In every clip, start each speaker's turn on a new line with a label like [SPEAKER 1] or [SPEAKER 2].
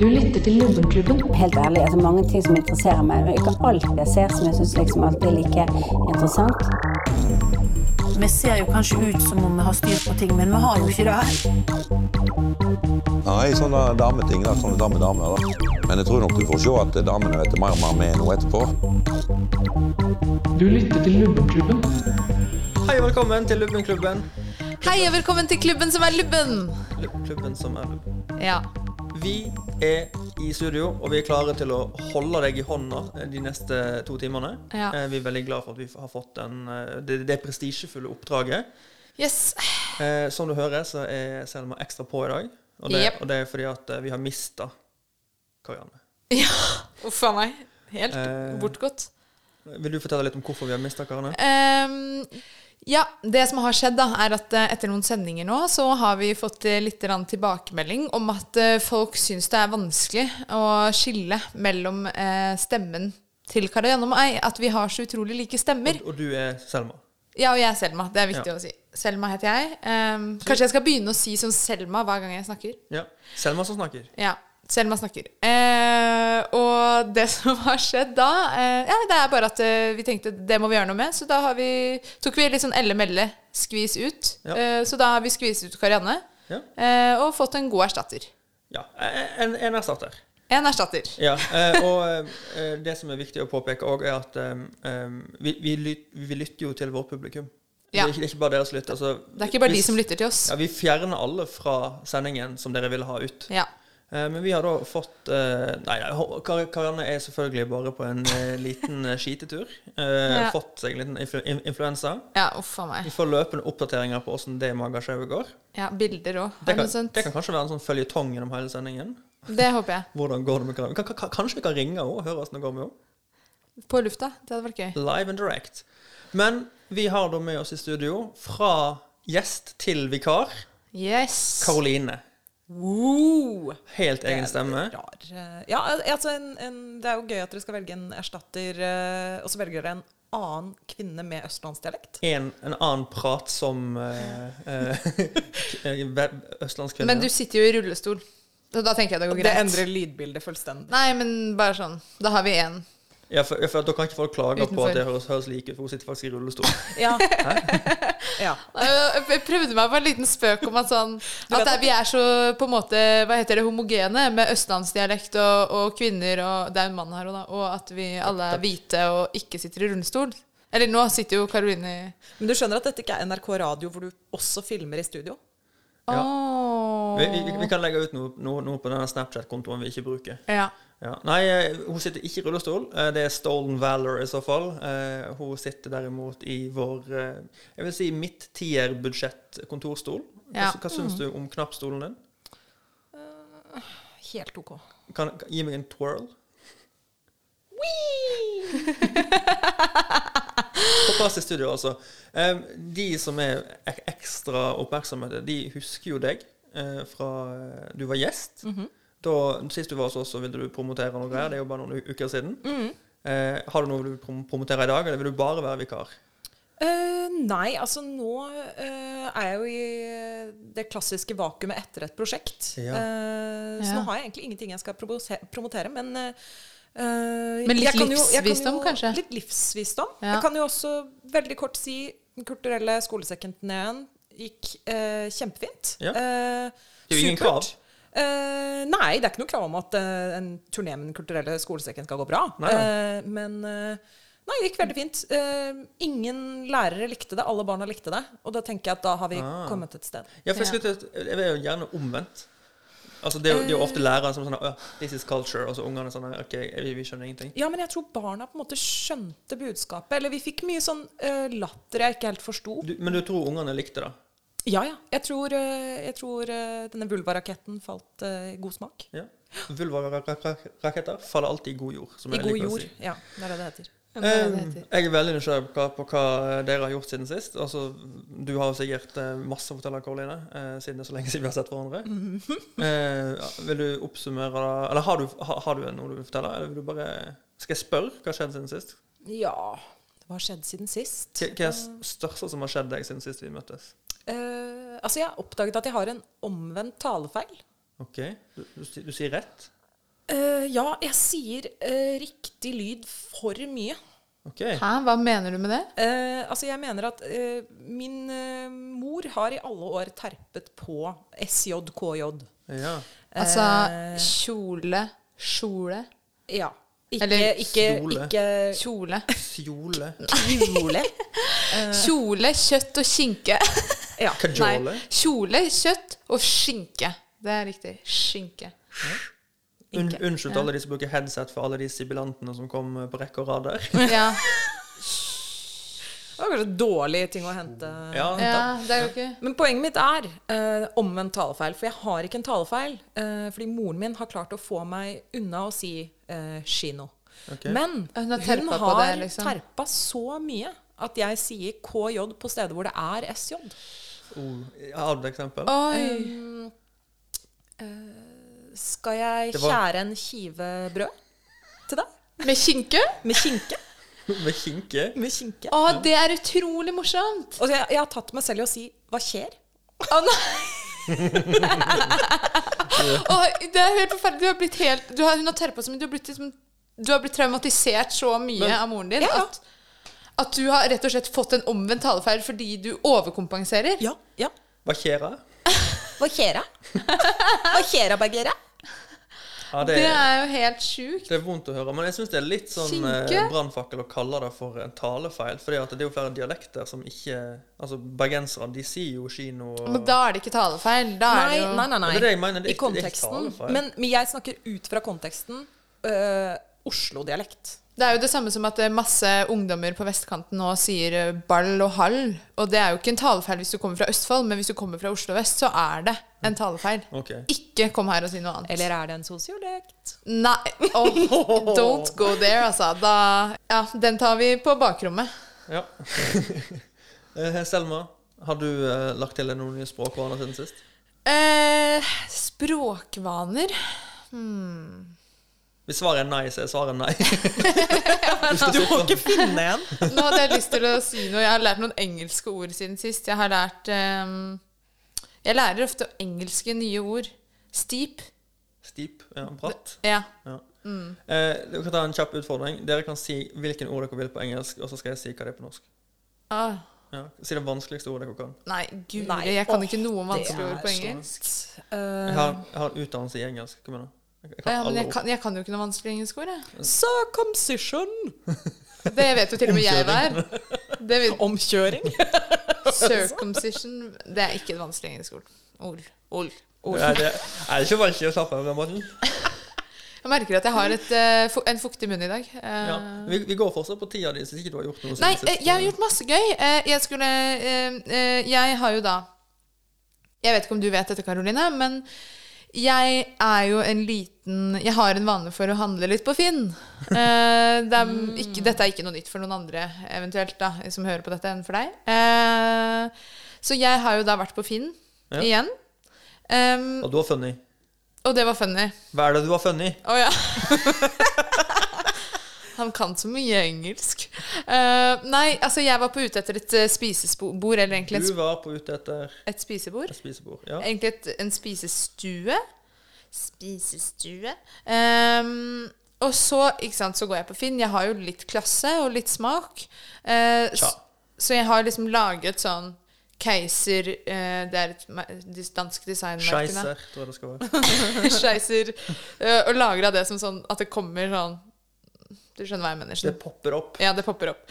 [SPEAKER 1] Du lytter til Lubbenklubben.
[SPEAKER 2] Helt ærlig, altså mange ting som interesserer meg. men Ikke alt jeg ser som jeg syns liksom alltid er like interessant.
[SPEAKER 3] Vi ser jo kanskje ut som om vi har styr på ting, men vi har jo ikke det.
[SPEAKER 4] Nei, sånne dameting. da, Sånne damedamer. da. Men jeg tror nok du får se at damene vet mer og mer med nå etterpå.
[SPEAKER 1] Du lytter til Lubbenklubben.
[SPEAKER 5] Hei og velkommen til Lubbenklubben.
[SPEAKER 6] Hei og velkommen til klubben som er lubben!
[SPEAKER 5] Klubben som er lubben.
[SPEAKER 6] Ja.
[SPEAKER 5] Vi er i studio, og vi er klare til å holde deg i hånda eh, de neste to timene.
[SPEAKER 6] Ja.
[SPEAKER 5] Eh, Vi er veldig glad for at vi har fått den, eh, det, det prestisjefulle oppdraget.
[SPEAKER 6] Yes.
[SPEAKER 5] Eh, som du hører, så er Selma ekstra på i dag. Og det,
[SPEAKER 6] Jep.
[SPEAKER 5] og det er fordi at eh, vi har mista Karianne.
[SPEAKER 6] Ja, uff a meg. Helt
[SPEAKER 5] Eh.
[SPEAKER 6] bortgått.
[SPEAKER 5] Vil du fortelle litt om hvorfor vi har mista Karianne?
[SPEAKER 6] Ehm, ja, det som har skjedd, da, er at eh, etter noen sendinger nå, så har vi fått eh, litt grann tilbakemelding om at eh, folk syns det er vanskelig å skille mellom eh, stemmen til Karajan og meg, at vi har så utrolig like stemmer.
[SPEAKER 5] Og du er Selma.
[SPEAKER 6] Ja, og jeg er Selma. Det er viktig
[SPEAKER 5] Ja.
[SPEAKER 6] å si. Selma heter jeg. Ehm, kanskje jeg skal begynne å si som Selma hver gang jeg snakker.
[SPEAKER 5] Ja. Selma som snakker.
[SPEAKER 6] Ja. Selma snakker. Eh, og det som har skjedd da eh, Ja, det er bare at eh, vi tenkte det må vi gjøre noe med, så da har vi, tok vi litt sånn elle-melle-skvis ut.
[SPEAKER 5] Ja.
[SPEAKER 6] Eh, så da har vi skviset ut Karianne
[SPEAKER 5] Ja.
[SPEAKER 6] eh, og fått en god erstatter.
[SPEAKER 5] ja. Eh, En, en erstatter.
[SPEAKER 6] En erstatter.
[SPEAKER 5] Ja, eh, og eh, det som er viktig å påpeke òg, er at eh, eh, vi, vi, lyt, vi lytter jo til vårt publikum.
[SPEAKER 6] Ja.
[SPEAKER 5] Det, er ikke, det er ikke bare dere som lytter. Altså,
[SPEAKER 6] Det er ikke bare
[SPEAKER 5] hvis-
[SPEAKER 6] de som lytter til oss.
[SPEAKER 5] Ja, Vi fjerner alle fra sendingen som dere ville ha ut.
[SPEAKER 6] Ja.
[SPEAKER 5] Eh, men vi har da fått eh, Nei, nei Ho- Kar Karianne er selvfølgelig bare på en eh, liten eh, skitetur. Eh,
[SPEAKER 6] Ja.
[SPEAKER 5] Fått seg en liten influ in- influensa.
[SPEAKER 6] Ja, uff a meg.
[SPEAKER 5] Vi får løpende oppdateringer på åssen det magashowet går.
[SPEAKER 6] Ja, bilder òg.
[SPEAKER 5] Det kan, det kan kanskje være en sånn føljetong gjennom hele sendingen.
[SPEAKER 6] det håper jeg.
[SPEAKER 5] Hvordan går det med Karianne? Kan- kan- Kanskje vi kan ringe henne og høre åssen det går med henne?
[SPEAKER 6] På lufta. Det hadde vært gøy.
[SPEAKER 5] Live and direct. Men vi har da med oss i studio, fra gjest til vikar,
[SPEAKER 6] Yes.
[SPEAKER 5] Karoline.
[SPEAKER 7] Wow.
[SPEAKER 5] Helt egen stemme.
[SPEAKER 7] Rar. eh, Ja, al- altså en, en, det er jo gøy at dere skal velge en erstatter, eh, og så velger dere en annen kvinne med østlandsdialekt.
[SPEAKER 5] En, en annen prat som eh, eh, ve- østlandskvinne.
[SPEAKER 6] Men du sitter jo i rullestol, så da tenker jeg det går
[SPEAKER 7] Det
[SPEAKER 6] greit.
[SPEAKER 7] endrer lydbildet fullstendig.
[SPEAKER 6] Nei, men bare sånn. Da har vi én.
[SPEAKER 5] ja, for, ja, for da kan ikke folk klage på
[SPEAKER 6] Utenfor.
[SPEAKER 5] at det høres, høres like ut, for hun sitter faktisk i rullestol.
[SPEAKER 7] Ja. ja.
[SPEAKER 6] Jeg jeg prøvde meg på en liten spøk om at sånn At det, vi er så på en måte Hva heter det, homogene med østlandsdialekt og, og kvinner og Det er en mann her òg, da. Og at vi alle er hvite og ikke sitter i rullestol. Eller nå sitter jo Karoline i
[SPEAKER 7] Men du skjønner at dette ikke er NRK Radio, hvor du også filmer i studio?
[SPEAKER 5] Ja.
[SPEAKER 6] Åh.
[SPEAKER 5] Vi, vi, vi kan legge ut noe, noe, noe på denne Snapchat-kontoen vi ikke bruker.
[SPEAKER 6] Ja.
[SPEAKER 5] Ja. Nei, eh, hun sitter ikke i rullestol. Eh, Det er stolen valor i så fall. Eh, Hun sitter derimot i vår eh, Jeg vil si mitt tierbudsjett kontorstol.
[SPEAKER 6] Ja.
[SPEAKER 5] Hva, hva syns du om knappstolen din?
[SPEAKER 7] Helt OK.
[SPEAKER 5] Kan, kan, gi meg en twirl. På plass i studio, altså. Eh, De som er ek- ekstra oppmerksomme, de husker jo deg eh, fra eh, du var gjest. da, sist du var hos oss, så ville du promotere noe greier. Det er jo bare noen u- uker siden. Eh, har du noe du vil prom- promotere i dag, eller vil du bare være vikar?
[SPEAKER 7] Eh, nei, altså nå eh, er jeg jo i eh, det klassiske vakuumet etter et prosjekt.
[SPEAKER 5] Ja.
[SPEAKER 7] Eh, så
[SPEAKER 6] Ja.
[SPEAKER 7] nå har jeg egentlig ingenting jeg skal probose- promotere, men eh,
[SPEAKER 6] Men litt
[SPEAKER 7] jeg kan jo- jeg kan
[SPEAKER 6] livsvisdom,
[SPEAKER 7] jo-
[SPEAKER 6] kanskje?
[SPEAKER 7] Litt livsvisdom.
[SPEAKER 6] Ja.
[SPEAKER 7] Jeg kan jo også veldig kort si Den kulturelle skolesekken til Neen gikk eh, kjempefint.
[SPEAKER 5] Ja.
[SPEAKER 7] Eh,
[SPEAKER 5] Det er jo ingen
[SPEAKER 7] supert.
[SPEAKER 5] krav.
[SPEAKER 7] Eh, nei, det er ikke noe krav om at eh, en turné med Den kulturelle skolesekken skal gå bra.
[SPEAKER 5] Nei, nei.
[SPEAKER 7] Eh, men eh, nei, det gikk veldig fint. Eh, ingen lærere likte det. Alle barna likte det. Og da tenker jeg at da har vi
[SPEAKER 5] Ah.
[SPEAKER 7] kommet et sted.
[SPEAKER 5] Ja, for jeg, skulle til å- jeg er jo gjerne omvendt. Altså, det er jo, det er jo ofte lærere som er sånn «Åh, This is culture. Og så ungene er sånn OK, vi, vi skjønner ingenting.
[SPEAKER 7] Ja, men jeg tror barna på en måte skjønte budskapet. Eller vi fikk mye sånn eh, latter jeg ikke helt forsto.
[SPEAKER 5] Du, men du tror ungene likte det?
[SPEAKER 7] Ja, ja. Jeg tror, eh, jeg tror eh, denne vulvaraketten falt eh, i god smak.
[SPEAKER 5] Ja. Vulvaraketter faller alltid i god jord. Som
[SPEAKER 7] I
[SPEAKER 5] jeg
[SPEAKER 7] god
[SPEAKER 5] liker å
[SPEAKER 7] jord.
[SPEAKER 5] si.
[SPEAKER 7] Ja, det er det det
[SPEAKER 6] er
[SPEAKER 7] heter.
[SPEAKER 6] det det
[SPEAKER 5] Eh,
[SPEAKER 6] heter.
[SPEAKER 5] jeg er veldig nysgjerrig på hva, på hva dere har gjort siden sist. Altså, du har jo sikkert eh, masse å fortelle, Karoline, eh, siden det er så lenge siden vi har sett hverandre.
[SPEAKER 6] Mhm.
[SPEAKER 5] eh, vil du oppsummere da- Eller har du, ha, har du noe du vil fortelle? Eller vil du bare Skal jeg spørre hva har skjedd siden sist?
[SPEAKER 7] Ja Hva har skjedd siden sist?
[SPEAKER 5] Hva hva er det største som har skjedd deg siden sist vi møttes?
[SPEAKER 7] Eh, altså, jeg har oppdaget at jeg har en omvendt talefeil.
[SPEAKER 5] OK. Du, du, si- du sier rett?
[SPEAKER 7] Eh, ja, jeg sier eh, riktig lyd for mye.
[SPEAKER 5] OK.
[SPEAKER 6] Hæ, hva mener du med det?
[SPEAKER 7] Eh, altså, jeg mener at eh, min eh, mor har i alle år terpet på SJKJ.
[SPEAKER 5] Ja.
[SPEAKER 6] Altså
[SPEAKER 5] Eh.
[SPEAKER 6] kjole, kjole,
[SPEAKER 7] Ja. Ikke,
[SPEAKER 6] Eller
[SPEAKER 7] ikke,
[SPEAKER 5] kjole.
[SPEAKER 7] ikke
[SPEAKER 6] kjole.
[SPEAKER 5] Kjole.
[SPEAKER 7] kjole.
[SPEAKER 6] Kjole, kjøtt og skinke.
[SPEAKER 7] Ja.
[SPEAKER 5] Kajole.
[SPEAKER 6] Nei, kjole, kjøtt og skinke. Det er riktig. Skinke.
[SPEAKER 5] Un,
[SPEAKER 6] Ikke.
[SPEAKER 5] unnskyld til alle de som bruker headset for alle de sibilantene som kom eh, på rekke og rad der.
[SPEAKER 6] Ja,
[SPEAKER 7] Det var kanskje dårlige ting å hente.
[SPEAKER 5] Ja,
[SPEAKER 6] ja
[SPEAKER 5] da.
[SPEAKER 6] det er jo ikke
[SPEAKER 7] Men poenget mitt er eh, omvendt talefeil. For jeg har ikke en talefeil. eh, fordi moren min har klart å få meg unna å si eh, kino.
[SPEAKER 5] Ok.
[SPEAKER 7] Men
[SPEAKER 6] Hun
[SPEAKER 7] hun
[SPEAKER 6] har
[SPEAKER 7] har
[SPEAKER 6] terpa på
[SPEAKER 7] terpa,
[SPEAKER 6] det, liksom.
[SPEAKER 7] så mye at jeg sier KJ på steder hvor det er SJ.
[SPEAKER 5] Oh, jeg har et eksempel.
[SPEAKER 6] Oi.
[SPEAKER 7] Skal jeg
[SPEAKER 5] Det var-
[SPEAKER 7] skjære en kive brød til deg?
[SPEAKER 6] Med skinke?
[SPEAKER 7] Med kinke?
[SPEAKER 5] Med kinke.
[SPEAKER 7] Med kinke.
[SPEAKER 6] Å, det er utrolig morsomt.
[SPEAKER 7] Og jeg, jeg har tatt meg selv i å si 'hva skjer'?
[SPEAKER 6] Å, nei. Å, det er helt forferdelig. Du har blitt helt du har, Hun har terpa så mye. Du har blitt, liksom, du har blitt traumatisert så mye av moren din
[SPEAKER 7] ja.
[SPEAKER 6] at at du har rett og slett fått en omvendt talefeil fordi du overkompenserer?
[SPEAKER 7] Ja. ja.
[SPEAKER 5] Hva skjer'a?
[SPEAKER 7] Hva skjer'a? Hva skjer'a, Bergera?
[SPEAKER 5] Ja, det,
[SPEAKER 6] Det er jo helt sjukt.
[SPEAKER 5] det er vondt å høre. Men jeg syns det er litt sånn eh,
[SPEAKER 6] Skinke?
[SPEAKER 5] brannfakkel å kalle det for en talefeil. For det er jo flere dialekter som ikke Altså, bergensere, de sier jo kino og
[SPEAKER 6] Men da er det ikke talefeil. Da er
[SPEAKER 7] Nei,
[SPEAKER 6] det jo
[SPEAKER 7] nei, nei. nei.
[SPEAKER 5] Det er det jeg mener, det er
[SPEAKER 7] I
[SPEAKER 5] ikke- det er ikke
[SPEAKER 7] konteksten.
[SPEAKER 5] talefeil.
[SPEAKER 7] Men, men jeg snakker ut fra konteksten øh, Oslo-dialekt.
[SPEAKER 6] Det er jo det samme som at eh, masse ungdommer på vestkanten nå sier eh, ball og hall. Og det er jo ikke en talefeil hvis du kommer fra Østfold, men hvis du kommer fra Oslo vest, så er det en talefeil.
[SPEAKER 5] OK.
[SPEAKER 6] Ikke kom her og si noe annet.
[SPEAKER 7] Eller er det en sosiolekt?
[SPEAKER 6] Nei. Oh, don't go there, altså. Da Ja, den tar vi på bakrommet.
[SPEAKER 5] Ja. Eh, Selma, har du eh, lagt til deg noen nye språkvaner siden sist?
[SPEAKER 6] Eh, språkvaner hmm.
[SPEAKER 5] Hvis svaret er nei, så er svaret nei.
[SPEAKER 7] Du må ikke finne en!
[SPEAKER 6] Nå hadde jeg lyst til å si noe. Jeg har lært noen engelske ord siden sist. Jeg har lært ehm, Jeg lærer ofte engelske nye ord. Steep.
[SPEAKER 5] Stip. Ja, bratt.
[SPEAKER 6] Ja.
[SPEAKER 5] Ja. Eh, dere kan ta en kjapp utfordring. Dere kan si hvilken ord dere vil på engelsk, og så skal jeg si hva det er på norsk.
[SPEAKER 6] Ah.
[SPEAKER 5] Ja. Si det vanskeligste ordet dere kan.
[SPEAKER 6] Nei, guri,
[SPEAKER 7] Nei,
[SPEAKER 6] jeg kan
[SPEAKER 7] åh,
[SPEAKER 6] ikke noe
[SPEAKER 7] Det
[SPEAKER 6] vanskelig
[SPEAKER 7] er
[SPEAKER 6] ord på
[SPEAKER 7] så-
[SPEAKER 6] engelsk.
[SPEAKER 7] Øh,
[SPEAKER 5] Jeg har, jeg har utdannelse i engelsk. Kom igjen, da. Jeg kan
[SPEAKER 6] Ja, men
[SPEAKER 5] alle
[SPEAKER 6] jeg
[SPEAKER 5] ord.
[SPEAKER 6] kan, jeg kan jo ikke noe vanskelig engelsk ord, jeg.
[SPEAKER 7] Circumcision.
[SPEAKER 6] Det vet jo til og med jeg hver. Det vet,
[SPEAKER 7] Omkjøring.
[SPEAKER 6] circumcision Det er ikke et vanskelig engelsk ord. Ol. Ol. Ol.
[SPEAKER 5] Nei, det er ikke vanskelig å slappe av på den måten.
[SPEAKER 6] Jeg merker at jeg har et, eh, fu- en fuktig munn i dag. Eh,
[SPEAKER 5] Ja. Vi, vi går fortsatt på tida di, hvis ikke du har gjort noe
[SPEAKER 6] Nei,
[SPEAKER 5] siden
[SPEAKER 6] eh, jeg har gjort masse gøy. Eh, Jeg skulle eh, eh, Jeg har jo da Jeg vet ikke om du vet dette, Karoline, men jeg er jo en liten Jeg har en vane for å handle litt på Finn. Eh, Det er ikke, dette er ikke noe nytt for noen andre eventuelt da, som hører på dette, enn for deg. Eh, Så jeg har jo da vært på Finn
[SPEAKER 5] Ja.
[SPEAKER 6] igjen. Em,
[SPEAKER 5] Og du har funnet.
[SPEAKER 6] og det var funny.
[SPEAKER 5] Hva er det du har funnet?
[SPEAKER 6] Å ja. Han kan så mye engelsk. Eh, nei, altså jeg var på ute etter et eh, spisebord, eller egentlig et,
[SPEAKER 5] Du var på ute etter
[SPEAKER 6] sp- et spisebord.
[SPEAKER 5] et spisebord. Ja.
[SPEAKER 6] Egentlig et, en spisestue. Spisestue. Ehm, og så, ikke sant, så går jeg på Finn. Jeg har jo litt klasse og litt smak. Eh,
[SPEAKER 5] Tja.
[SPEAKER 6] s- så jeg har liksom laget sånn Keiser eh, Det er et me- dis- dansk designmerke. da.
[SPEAKER 5] Skeiser, tror jeg det skal være.
[SPEAKER 6] Skeiser. eh, Og lagra det som sånn at det kommer sånn Du skjønner hva jeg mener.
[SPEAKER 5] Det
[SPEAKER 6] Sånn.
[SPEAKER 5] popper opp.
[SPEAKER 6] Ja, det popper opp.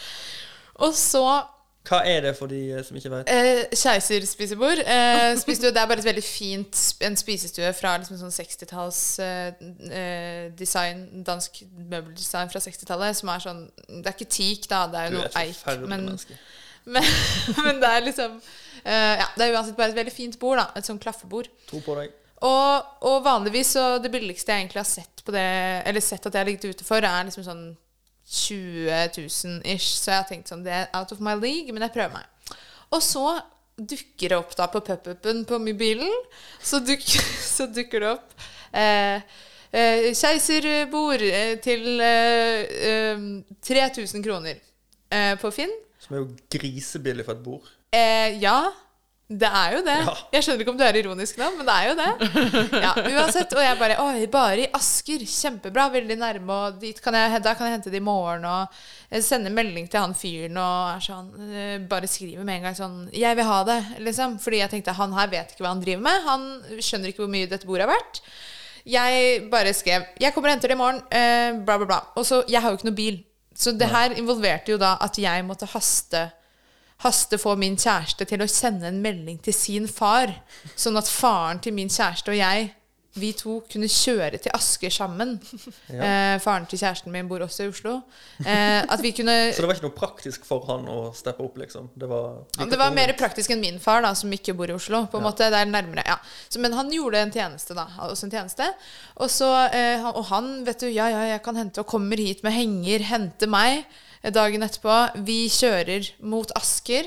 [SPEAKER 6] Og så
[SPEAKER 5] Hva er det for de eh, som ikke vet?
[SPEAKER 6] eh, keiserspisebord. Eh, spisestue. Det er bare et veldig fint sp- en spisestue fra liksom sånn 60-talls eh, eh, design, dansk møbeldesign fra 60-tallet, som er sånn Det er ikke teak, da, det er
[SPEAKER 5] Du er
[SPEAKER 6] jo noe
[SPEAKER 5] et
[SPEAKER 6] eik,
[SPEAKER 5] forferdelig
[SPEAKER 6] men
[SPEAKER 5] menneske.
[SPEAKER 6] men, men det er liksom eh, Ja, det er uansett bare et veldig fint bord, da. Et sånn klaffebord.
[SPEAKER 5] Tro på deg.
[SPEAKER 6] Og, og vanligvis så det billigste jeg egentlig har sett på det Eller sett at jeg har ligget ute for, er liksom sånn 20 000 ish. Så jeg har tenkt sånn Det er out of my league, men jeg prøver meg. Og så dukker det opp da på pop-upen på mobilen. Så, duk, så dukker det opp eh, eh, Keiserbord eh, til eh, eh, 3000 kroner eh, på Finn.
[SPEAKER 5] Som er jo grisebillig for et bord.
[SPEAKER 6] Eh, ja. Det er jo det.
[SPEAKER 5] Ja.
[SPEAKER 6] Jeg skjønner ikke om du er ironisk nå, men det er jo det. Ja, uansett. Og jeg bare Oi, bare i Asker. Kjempebra. Veldig nærme. Og dit kan jeg, da kan jeg hente det i morgen. Og jeg sender melding til han fyren og er sånn eh, Bare skriver med en gang sånn Jeg vil ha det, liksom. Fordi jeg tenkte han her vet ikke hva han driver med. Han skjønner ikke hvor mye dette bordet er verdt. Jeg bare skrev 'Jeg kommer og henter det i morgen', eh, bla, bla, bla. Og så Jeg har jo ikke noe bil. Så det her involverte jo da at jeg måtte haste haste få min kjæreste til å sende en melding til sin far, sånn at faren til min kjæreste og jeg, vi to kunne kjøre til Asker sammen. Eh, faren til kjæresten min bor også i Oslo. Eh, at vi kunne
[SPEAKER 5] Så det var ikke noe praktisk for han å steppe opp, liksom? Det var,
[SPEAKER 6] ja, det var mer praktisk enn min far, da, som ikke bor i Oslo. på en måte, det er nærmere, ja. så, Men han gjorde en tjeneste, da. Også en tjeneste. Og, så, eh, han- og han vet du, ja, ja, jeg kan hente og kommer hit med henger, hente meg eh, dagen etterpå. Vi kjører mot Asker.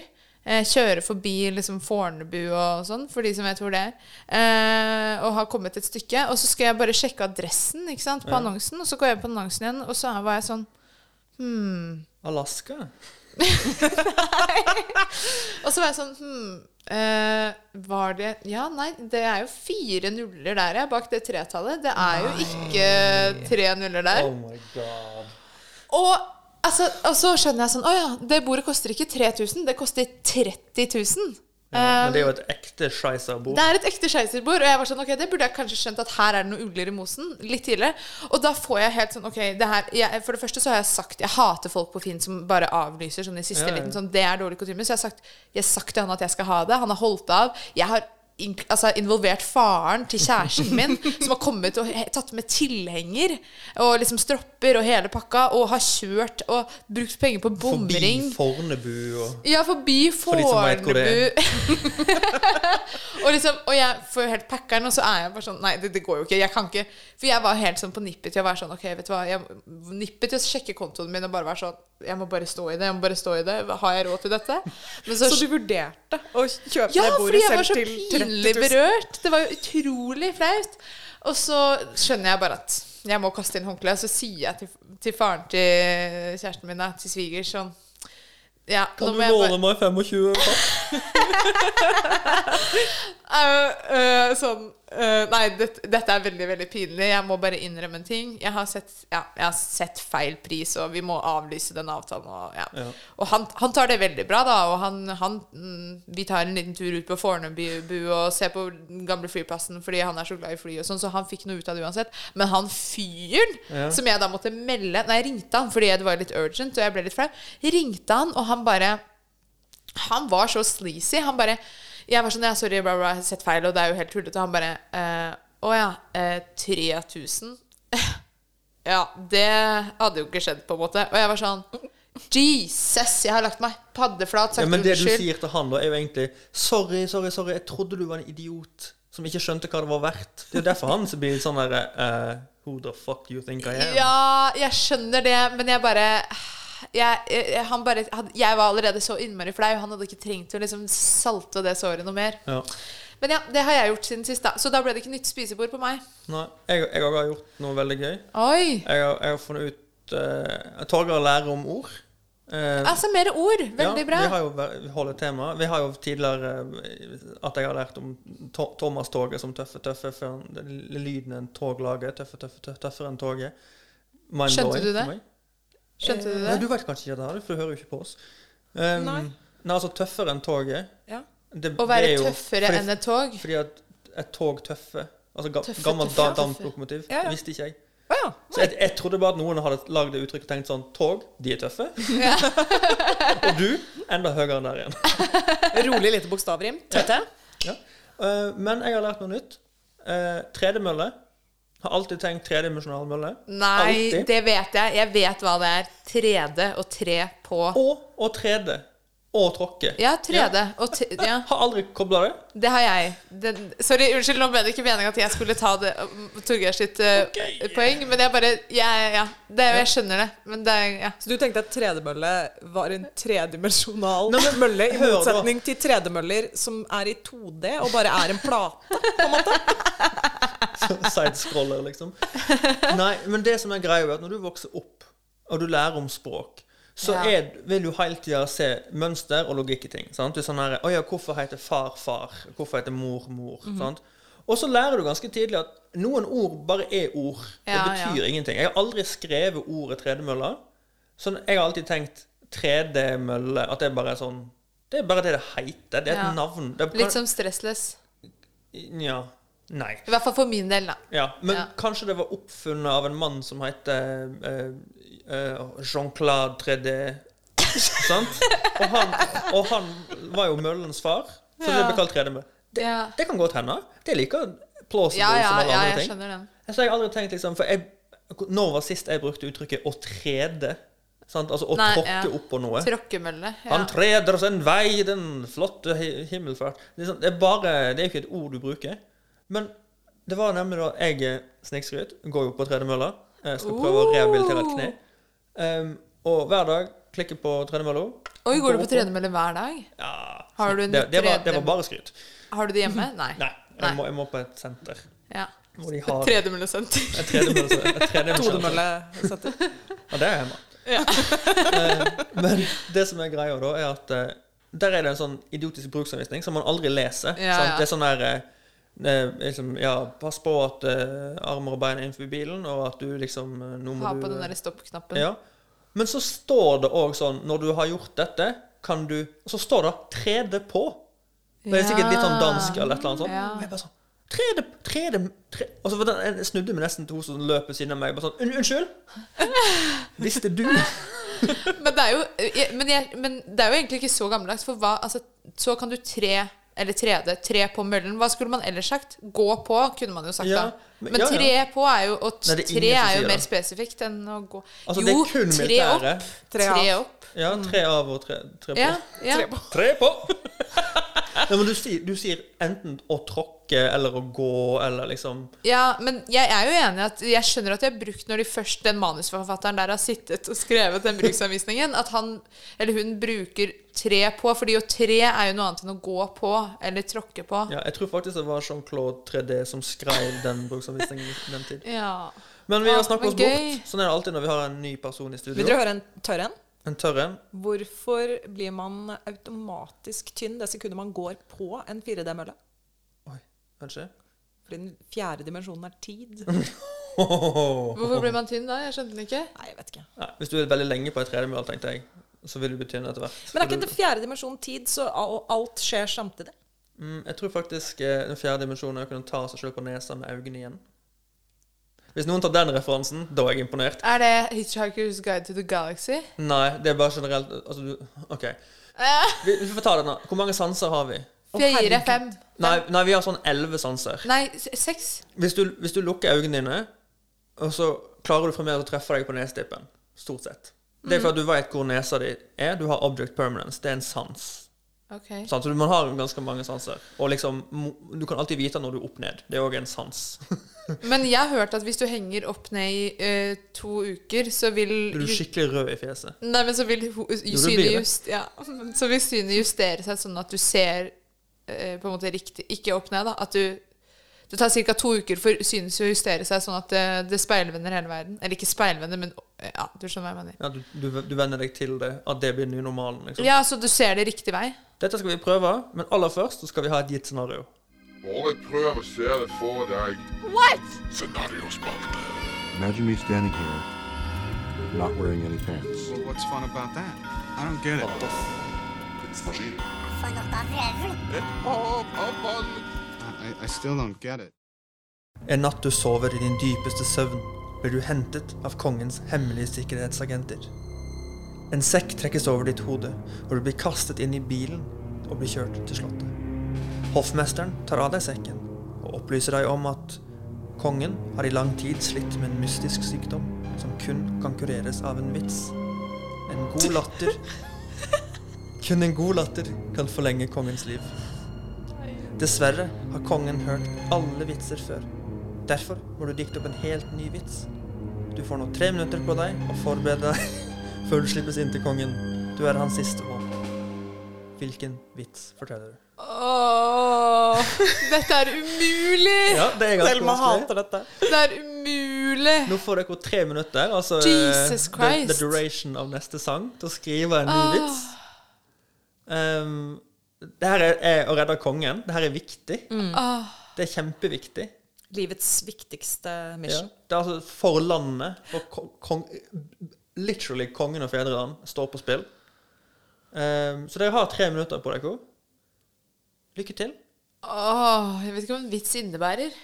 [SPEAKER 6] Eh, kjører forbi liksom Fornebu og sånn, for de som vet hvor det er. Eh, og har kommet et stykke. Og så skal jeg bare sjekke adressen ikke sant, på annonsen, og så går jeg på annonsen igjen, og så var jeg sånn
[SPEAKER 5] Alaska?
[SPEAKER 6] Og så var jeg sånn hmm, eh, Var det Ja, nei, det er jo fire nuller der, jeg, bak det tretallet. Det er jo ikke tre nuller der.
[SPEAKER 5] Oh my god.
[SPEAKER 6] Og, altså, og så skjønner jeg sånn Å ja, det bordet koster ikke 3000, det koster Eh, 30 000.
[SPEAKER 5] Ja, men det er jo et ekte Scheisser-bord.
[SPEAKER 6] Det er et ekte skeiserbord. Og jeg var sånn, ok, det burde jeg kanskje skjønt at her er det noen ugler i mosen. Litt tidligere. Og da får jeg helt sånn, ok, det her, jeg, For det første så har jeg sagt Jeg hater folk på Finn som bare avlyser sånn i siste
[SPEAKER 5] Ja, ja.
[SPEAKER 6] liten. sånn, Det er dårlig kutyme. Så jeg har sagt, jeg har sagt til han at jeg skal ha det. Han har holdt av. Jeg har in- altså, involvert faren til kjæresten min, som har kommet og he- tatt med tilhenger og liksom stropper og hele pakka, og har kjørt og brukt penger på
[SPEAKER 5] Forbi
[SPEAKER 6] bomring.
[SPEAKER 5] Fornebu og
[SPEAKER 6] Ja, forbi
[SPEAKER 5] de som vet hvor det
[SPEAKER 6] Fornebu. og, liksom, og jeg får jo helt packeren, og så er jeg bare sånn Nei, det, det går jo ikke. Jeg kan ikke For jeg var helt sånn på nippet til å være sånn Ok, vet du hva. Jeg nippet til å sjekke kontoen min og bare være sånn Jeg må bare stå i det. Jeg må bare stå i det. Har jeg råd til dette? Men
[SPEAKER 7] Så du vurderte å kjøpe
[SPEAKER 6] ja,
[SPEAKER 7] det
[SPEAKER 6] fordi
[SPEAKER 7] bordet
[SPEAKER 6] jeg var
[SPEAKER 7] selv
[SPEAKER 6] så
[SPEAKER 7] til 30
[SPEAKER 6] pinlig
[SPEAKER 7] 000?
[SPEAKER 6] berørt. Det var jo utrolig flaut. Og så skjønner jeg bare at jeg må kaste inn håndkleet. Og så sier jeg til, til faren til kjæresten min, da, til svigers, sånn ja, nå
[SPEAKER 5] Kan du
[SPEAKER 6] må jeg bare-
[SPEAKER 5] låne meg 25 papp?
[SPEAKER 6] Eh, eh, sånn eh, Nei, dette- dette er veldig, veldig pinlig. Jeg må bare innrømme en ting. Jeg har sett, ja, jeg har sett feil pris, og vi må avlyse den avtalen. Og, ja.
[SPEAKER 5] Ja.
[SPEAKER 6] og han, han tar det veldig bra, da. Og han, han mm, Vi tar en liten tur ut på Fornebu og ser på den gamle flyplassen fordi han er så glad i fly og sånn, så han fikk noe ut av det uansett. Men han fyren
[SPEAKER 5] Ja.
[SPEAKER 6] som jeg da måtte melde Nei, jeg ringte han fordi det var litt urgent, og jeg ble litt flau. Ringte han, og han bare han var så sleazy. Han bare Jeg var sånn Ja, sorry, bla, bla, jeg har sett feil, og det er jo helt tullete. Han bare eh, Å ja, eh, 3000? ja, det hadde jo ikke skjedd, på en måte. Og jeg var sånn Jesus, jeg har lagt meg paddeflat, sagt
[SPEAKER 5] Ja, men det du
[SPEAKER 6] unnskyld.
[SPEAKER 5] sier til han, da, er jo egentlig Sorry, sorry, sorry, jeg trodde du var en idiot som ikke skjønte hva det var verdt. Det er jo derfor han som blir litt sånn derre Who the fuck you think I am?
[SPEAKER 6] Ja, jeg skjønner det, men jeg bare jeg, jeg, han bare, han- jeg var allerede så innmari flau. Han hadde ikke trengt å liksom salte det såret noe mer.
[SPEAKER 5] Ja.
[SPEAKER 6] Men ja, det har jeg gjort siden sist, da. Så da ble det ikke nytt spisebord på meg.
[SPEAKER 5] Nei, jeg jeg har gjort noe veldig gøy.
[SPEAKER 6] Oi!
[SPEAKER 5] Jeg har, jeg har funnet ut uh, Torgeir lærer om ord. Eh,
[SPEAKER 6] Altså, mer ord. Veldig bra.
[SPEAKER 5] Vi har jo væ- vi holder tema. Vi har jo tidligere eh, at jeg har lært om to Thomas-toget som tøffe, tøffe før den- lyden en tog lager. Tøffe, tøffe, tøffe, tøffere enn toget. Mind
[SPEAKER 6] Skjønte
[SPEAKER 5] blowing
[SPEAKER 6] du
[SPEAKER 5] for
[SPEAKER 6] det?
[SPEAKER 5] meg.
[SPEAKER 6] Skjønte du
[SPEAKER 5] Nei,
[SPEAKER 6] det?
[SPEAKER 5] du vet kanskje ikke det, her, for du hører jo ikke på oss. Um,
[SPEAKER 7] Nei.
[SPEAKER 5] nei, altså tøffere enn toget.
[SPEAKER 7] Ja.
[SPEAKER 5] Det,
[SPEAKER 6] Å være
[SPEAKER 5] det er jo-
[SPEAKER 6] tøffere
[SPEAKER 5] fordi,
[SPEAKER 6] enn et tog?
[SPEAKER 5] Fordi at et tog tøffe Altså ga,
[SPEAKER 6] Tøffe,
[SPEAKER 5] gammelt
[SPEAKER 6] tøffe,
[SPEAKER 5] da,
[SPEAKER 6] ja.
[SPEAKER 5] damplokomotiv.
[SPEAKER 7] Ja, ja.
[SPEAKER 5] Visste ikke jeg.
[SPEAKER 7] Å ja.
[SPEAKER 5] Så jeg, jeg trodde bare at noen hadde lagd det uttrykket og tenkt sånn Tog, de er tøffe. og du, enda høyere enn der igjen.
[SPEAKER 7] Rolig lite bokstavrim. Tøtte.
[SPEAKER 5] Eh, men jeg har lært noe nytt. Uh, 3D-mølle. Har alltid tenkt tredimensjonal mølle.
[SPEAKER 6] Mm. Nei,
[SPEAKER 5] Alltid.
[SPEAKER 6] det vet jeg. Jeg vet hva det er. 3D og 3 på
[SPEAKER 5] Og, og 3D. Og tråkke.
[SPEAKER 6] Ja, 3D og t Ja,
[SPEAKER 5] Har aldri kobla det.
[SPEAKER 6] det har jeg. Det, sorry, unnskyld, nå ble det ikke meningen at jeg skulle ta det um, Torgeir sitt uh,
[SPEAKER 5] Ok.
[SPEAKER 6] poeng, men jeg bare Ja, ja, ja. Det, jeg skjønner det, men det er ja.
[SPEAKER 7] Så du tenkte at tredemølle var en tredimensjonal
[SPEAKER 5] Nei, men
[SPEAKER 7] mølle, i
[SPEAKER 5] hør da.
[SPEAKER 7] motsetning til tredemøller som er i 2D og bare er en plate?
[SPEAKER 5] Sidescroller, liksom. Nei, men det som er greia, er at når du vokser opp, og du lærer om språk, så
[SPEAKER 6] Ja.
[SPEAKER 5] er, vil du hele tida se mønster og logikk i ting. Sant? Du er sånn her, «Å ja, Hvorfor heter far far? Hvorfor heter mor mor?
[SPEAKER 6] Mhm.
[SPEAKER 5] sant? Og så lærer du ganske tidlig at noen ord bare er ord.
[SPEAKER 6] Ja,
[SPEAKER 5] det betyr ingenting. Jeg har aldri skrevet ordet tredemølle. Sånn, jeg har alltid tenkt 3D-mølle At det er bare er sånn Det er bare det det heter. Det er et
[SPEAKER 6] Ja.
[SPEAKER 5] navn. Det er,
[SPEAKER 6] Litt sånn- som stressless.
[SPEAKER 5] Ja. Nei.
[SPEAKER 6] I hvert fall for min del, da.
[SPEAKER 5] Ja, men
[SPEAKER 6] Ja.
[SPEAKER 5] kanskje det var oppfunnet av en mann som heter eh, eh, Jean-Claude 3D. Sant? Og han, og han var jo møllens far, så det
[SPEAKER 6] Ja.
[SPEAKER 5] ble kalt 3D. Det,
[SPEAKER 6] Ja.
[SPEAKER 5] det kan godt hende. Det er like plausible
[SPEAKER 6] Ja, ja,
[SPEAKER 5] som alle
[SPEAKER 6] ja,
[SPEAKER 5] andre
[SPEAKER 6] jeg
[SPEAKER 5] ting.
[SPEAKER 6] skjønner den.
[SPEAKER 5] Så jeg har aldri tenkt liksom For jeg, når var sist jeg brukte uttrykket 'å trede'? Sant? Altså å
[SPEAKER 6] Nei,
[SPEAKER 5] tråkke
[SPEAKER 6] ja.
[SPEAKER 5] opp på noe.
[SPEAKER 6] Tråkkemølle. Ja.
[SPEAKER 5] Han treder oss en vei, den flotte hi- himmelfart. Det er, sånn, det er bare, det er jo ikke et ord du bruker. Men det var nemlig da jeg eh, snikskryt, går jo på tredemølla, eh, skal prøve å rehabilitere et kne. Em, og hver dag klikker på tredemølla.
[SPEAKER 6] Oi, går du på tredemølle hver dag?
[SPEAKER 5] Ja,
[SPEAKER 6] Har du en
[SPEAKER 5] det, det, var, det var
[SPEAKER 6] tredemølle?
[SPEAKER 5] bare skryt.
[SPEAKER 6] Har du det hjemme? Nei.
[SPEAKER 5] Nei,
[SPEAKER 6] Nei.
[SPEAKER 5] jeg må, jeg må på et senter.
[SPEAKER 6] Ja.
[SPEAKER 5] Hvor de har
[SPEAKER 6] Tredemøllesenter.
[SPEAKER 5] et tredemølle. et tredemølle-
[SPEAKER 7] Todemølle.
[SPEAKER 5] Ja, det er hjemme.
[SPEAKER 6] Ja.
[SPEAKER 5] Eh, men det som er greia da, er at eh, der er det en sånn idiotisk bruksanvisning som man aldri leser.
[SPEAKER 6] Ja,
[SPEAKER 5] sant?
[SPEAKER 6] ja.
[SPEAKER 5] Det er sånn der eh, eh, liksom, Ja, pass på at eh, armer og bein er innenfor bilen, og at du liksom eh, Nå må
[SPEAKER 6] Ha på
[SPEAKER 5] du
[SPEAKER 6] den derre stoppknappen.
[SPEAKER 5] ja. Men så står det òg sånn Når du har gjort dette, kan du Så står det '3D på'. Det er sikkert litt sånn dansk eller et eller annet sånt.
[SPEAKER 6] Ja.
[SPEAKER 5] Og jeg bare sånn 3D, 3D, 3D. Og så var det- jeg snudde meg nesten til hun som løp ved siden av meg. Bare sånn, «Un- Unnskyld! Visste du?
[SPEAKER 6] Men det er jo jeg- men, jeg, men det er jo egentlig ikke så gammeldags. For hva, altså, så kan du tre eller 3D, tre på møllen. Hva skulle man ellers sagt? Gå på, kunne man jo sagt
[SPEAKER 5] Ja,
[SPEAKER 6] da.
[SPEAKER 5] men-
[SPEAKER 6] Men,
[SPEAKER 5] ja, ja.
[SPEAKER 6] tre på er jo Og t-
[SPEAKER 5] Nei, det er
[SPEAKER 6] tre
[SPEAKER 5] ingen som
[SPEAKER 6] er
[SPEAKER 5] sier
[SPEAKER 6] jo mer
[SPEAKER 5] det.
[SPEAKER 6] spesifikt enn å gå
[SPEAKER 5] Altså, det er
[SPEAKER 6] Jo,
[SPEAKER 5] kun
[SPEAKER 6] tre
[SPEAKER 5] militære.
[SPEAKER 6] opp.
[SPEAKER 7] Tre av.
[SPEAKER 6] Tre opp.
[SPEAKER 5] Ja, tre av og tre, tre på.
[SPEAKER 6] Ja, ja.
[SPEAKER 5] Tre på! Nei, men du sier, du sier enten å tråkke eller å gå eller liksom
[SPEAKER 6] ja, men jeg er jo enig i at jeg skjønner at jeg har brukt når de først den manusforfatteren der har sittet og skrevet den bruksanvisningen, at han eller hun bruker tre på, fordi å tre er jo noe annet enn å gå på eller tråkke på.
[SPEAKER 5] ja, Jeg tror faktisk det var Jean-Claude 3D som skrev den bruksanvisningen i den tid.
[SPEAKER 6] Ja.
[SPEAKER 5] Men vi har
[SPEAKER 6] Ja,
[SPEAKER 5] snakket
[SPEAKER 6] men
[SPEAKER 5] oss
[SPEAKER 6] gøy.
[SPEAKER 5] bort. Sånn er det alltid når vi har en ny person i
[SPEAKER 7] Vil
[SPEAKER 5] studio.
[SPEAKER 7] dere høre en tørr en?
[SPEAKER 5] En tørr en.
[SPEAKER 7] Hvorfor blir man automatisk tynn det sekundet man går på en 4D-mølle?
[SPEAKER 5] Oi, kanskje?
[SPEAKER 7] Fordi den fjerde dimensjonen er tid.
[SPEAKER 6] Hvorfor blir man tynn da? Jeg skjønte den ikke.
[SPEAKER 7] Nei, jeg vet ikke.
[SPEAKER 5] Nei, hvis du er veldig lenge på et tredemølle, tenkte jeg, så vil du bli tynn etter hvert.
[SPEAKER 7] Men er
[SPEAKER 5] For
[SPEAKER 7] ikke
[SPEAKER 5] du-
[SPEAKER 7] den fjerde dimensjonen tid, så al- alt skjer samtidig?
[SPEAKER 5] Mm, jeg tror faktisk eh, den fjerde dimensjonen er å kunne ta seg selv på nesa med øynene igjen. Hvis noen tar den referansen, da er jeg imponert.
[SPEAKER 6] Er det Hitchhiker's Guide to the Galaxy?
[SPEAKER 5] Nei, det er bare generelt Altså, du OK. Vi, vi får ta det nå. Hvor mange sanser har vi?
[SPEAKER 6] Fire, fem
[SPEAKER 5] Nei, nei vi har sånn elleve sanser.
[SPEAKER 6] Nei, s- seks.
[SPEAKER 5] Hvis du, hvis du lukker øynene dine, og så klarer du fremdeles å treffe deg på nesetippen, stort sett Det er for at du vet hvor nesa di er. Du har object permanence. Det er en sans.
[SPEAKER 6] Ok.
[SPEAKER 5] Sant? Så du- man har ganske mange sanser. Og liksom, mo- du kan alltid vite når du er opp ned. Det er òg en sans.
[SPEAKER 6] Men jeg har hørt at hvis du henger opp ned i eh, to uker, så vil
[SPEAKER 5] Du er
[SPEAKER 6] ju-
[SPEAKER 5] skikkelig rød i fjeset.
[SPEAKER 6] Nei, men så vil ho-
[SPEAKER 5] det blir
[SPEAKER 6] synet
[SPEAKER 5] det.
[SPEAKER 6] just, ja. Så vil synet justere seg sånn at du ser eh, på en måte riktig Ikke opp ned, da. At du Det tar ca. to uker for synet å justere seg sånn at det, det speilvender hele verden. Eller ikke speilvender, men eh, Ja, du skjønner hva jeg mener.
[SPEAKER 5] Ja, du, du, du venner deg til det. At det blir ny normalen. Liksom.
[SPEAKER 6] Ja, så du ser det riktig vei?
[SPEAKER 5] Dette skal vi prøve, men aller først så skal vi ha et gitt scenario.
[SPEAKER 8] Bare prøv å se det for deg. What? Scenariospalte.
[SPEAKER 9] Imagine me standing here, not wearing any pants.
[SPEAKER 10] Well, what's fun about that? I don't get it.
[SPEAKER 8] Hopp av ballen.
[SPEAKER 10] I, I still don't get it.
[SPEAKER 5] En natt du sover i din dypeste søvn, blir du hentet av kongens hemmelige sikkerhetsagenter. En sekk trekkes over ditt hode, og du blir kastet inn i bilen og blir kjørt til slottet. Hoffmesteren tar av deg sekken og opplyser deg om at kongen har i lang tid slitt med en mystisk sykdom som kun kan kureres av en vits. En god latter Kun en god latter kan forlenge kongens liv. Dessverre har kongen hørt alle vitser før. Derfor må du dikte opp en helt ny vits. Du får nå tre minutter på deg å forberede deg før du slippes inn til kongen. Du er hans siste håp. Hvilken vits forteller du?
[SPEAKER 6] Åh, dette er umulig!
[SPEAKER 5] Ja, det er ganske
[SPEAKER 7] Selma
[SPEAKER 5] vanskelig.
[SPEAKER 7] hater dette.
[SPEAKER 6] Det er umulig! Selvfølgelig.
[SPEAKER 5] Nå får dere tre minutter, altså
[SPEAKER 6] Jesus
[SPEAKER 5] eh,
[SPEAKER 6] Christ.
[SPEAKER 5] The, the duration av neste sang, til å skrive en ny
[SPEAKER 6] Ah.
[SPEAKER 5] vits. Ehm, det her er, er å redde kongen. Det her er viktig.
[SPEAKER 6] Åh,
[SPEAKER 5] Det er kjempeviktig.
[SPEAKER 7] Livets viktigste
[SPEAKER 5] Ja.
[SPEAKER 7] mission.
[SPEAKER 5] Det er altså for landet. For ko- kong, literally kongen og fedreland står på spill. Ehm, så dere har tre minutter på dere. Lykke til.
[SPEAKER 6] åh, jeg vet ikke hva en vits innebærer.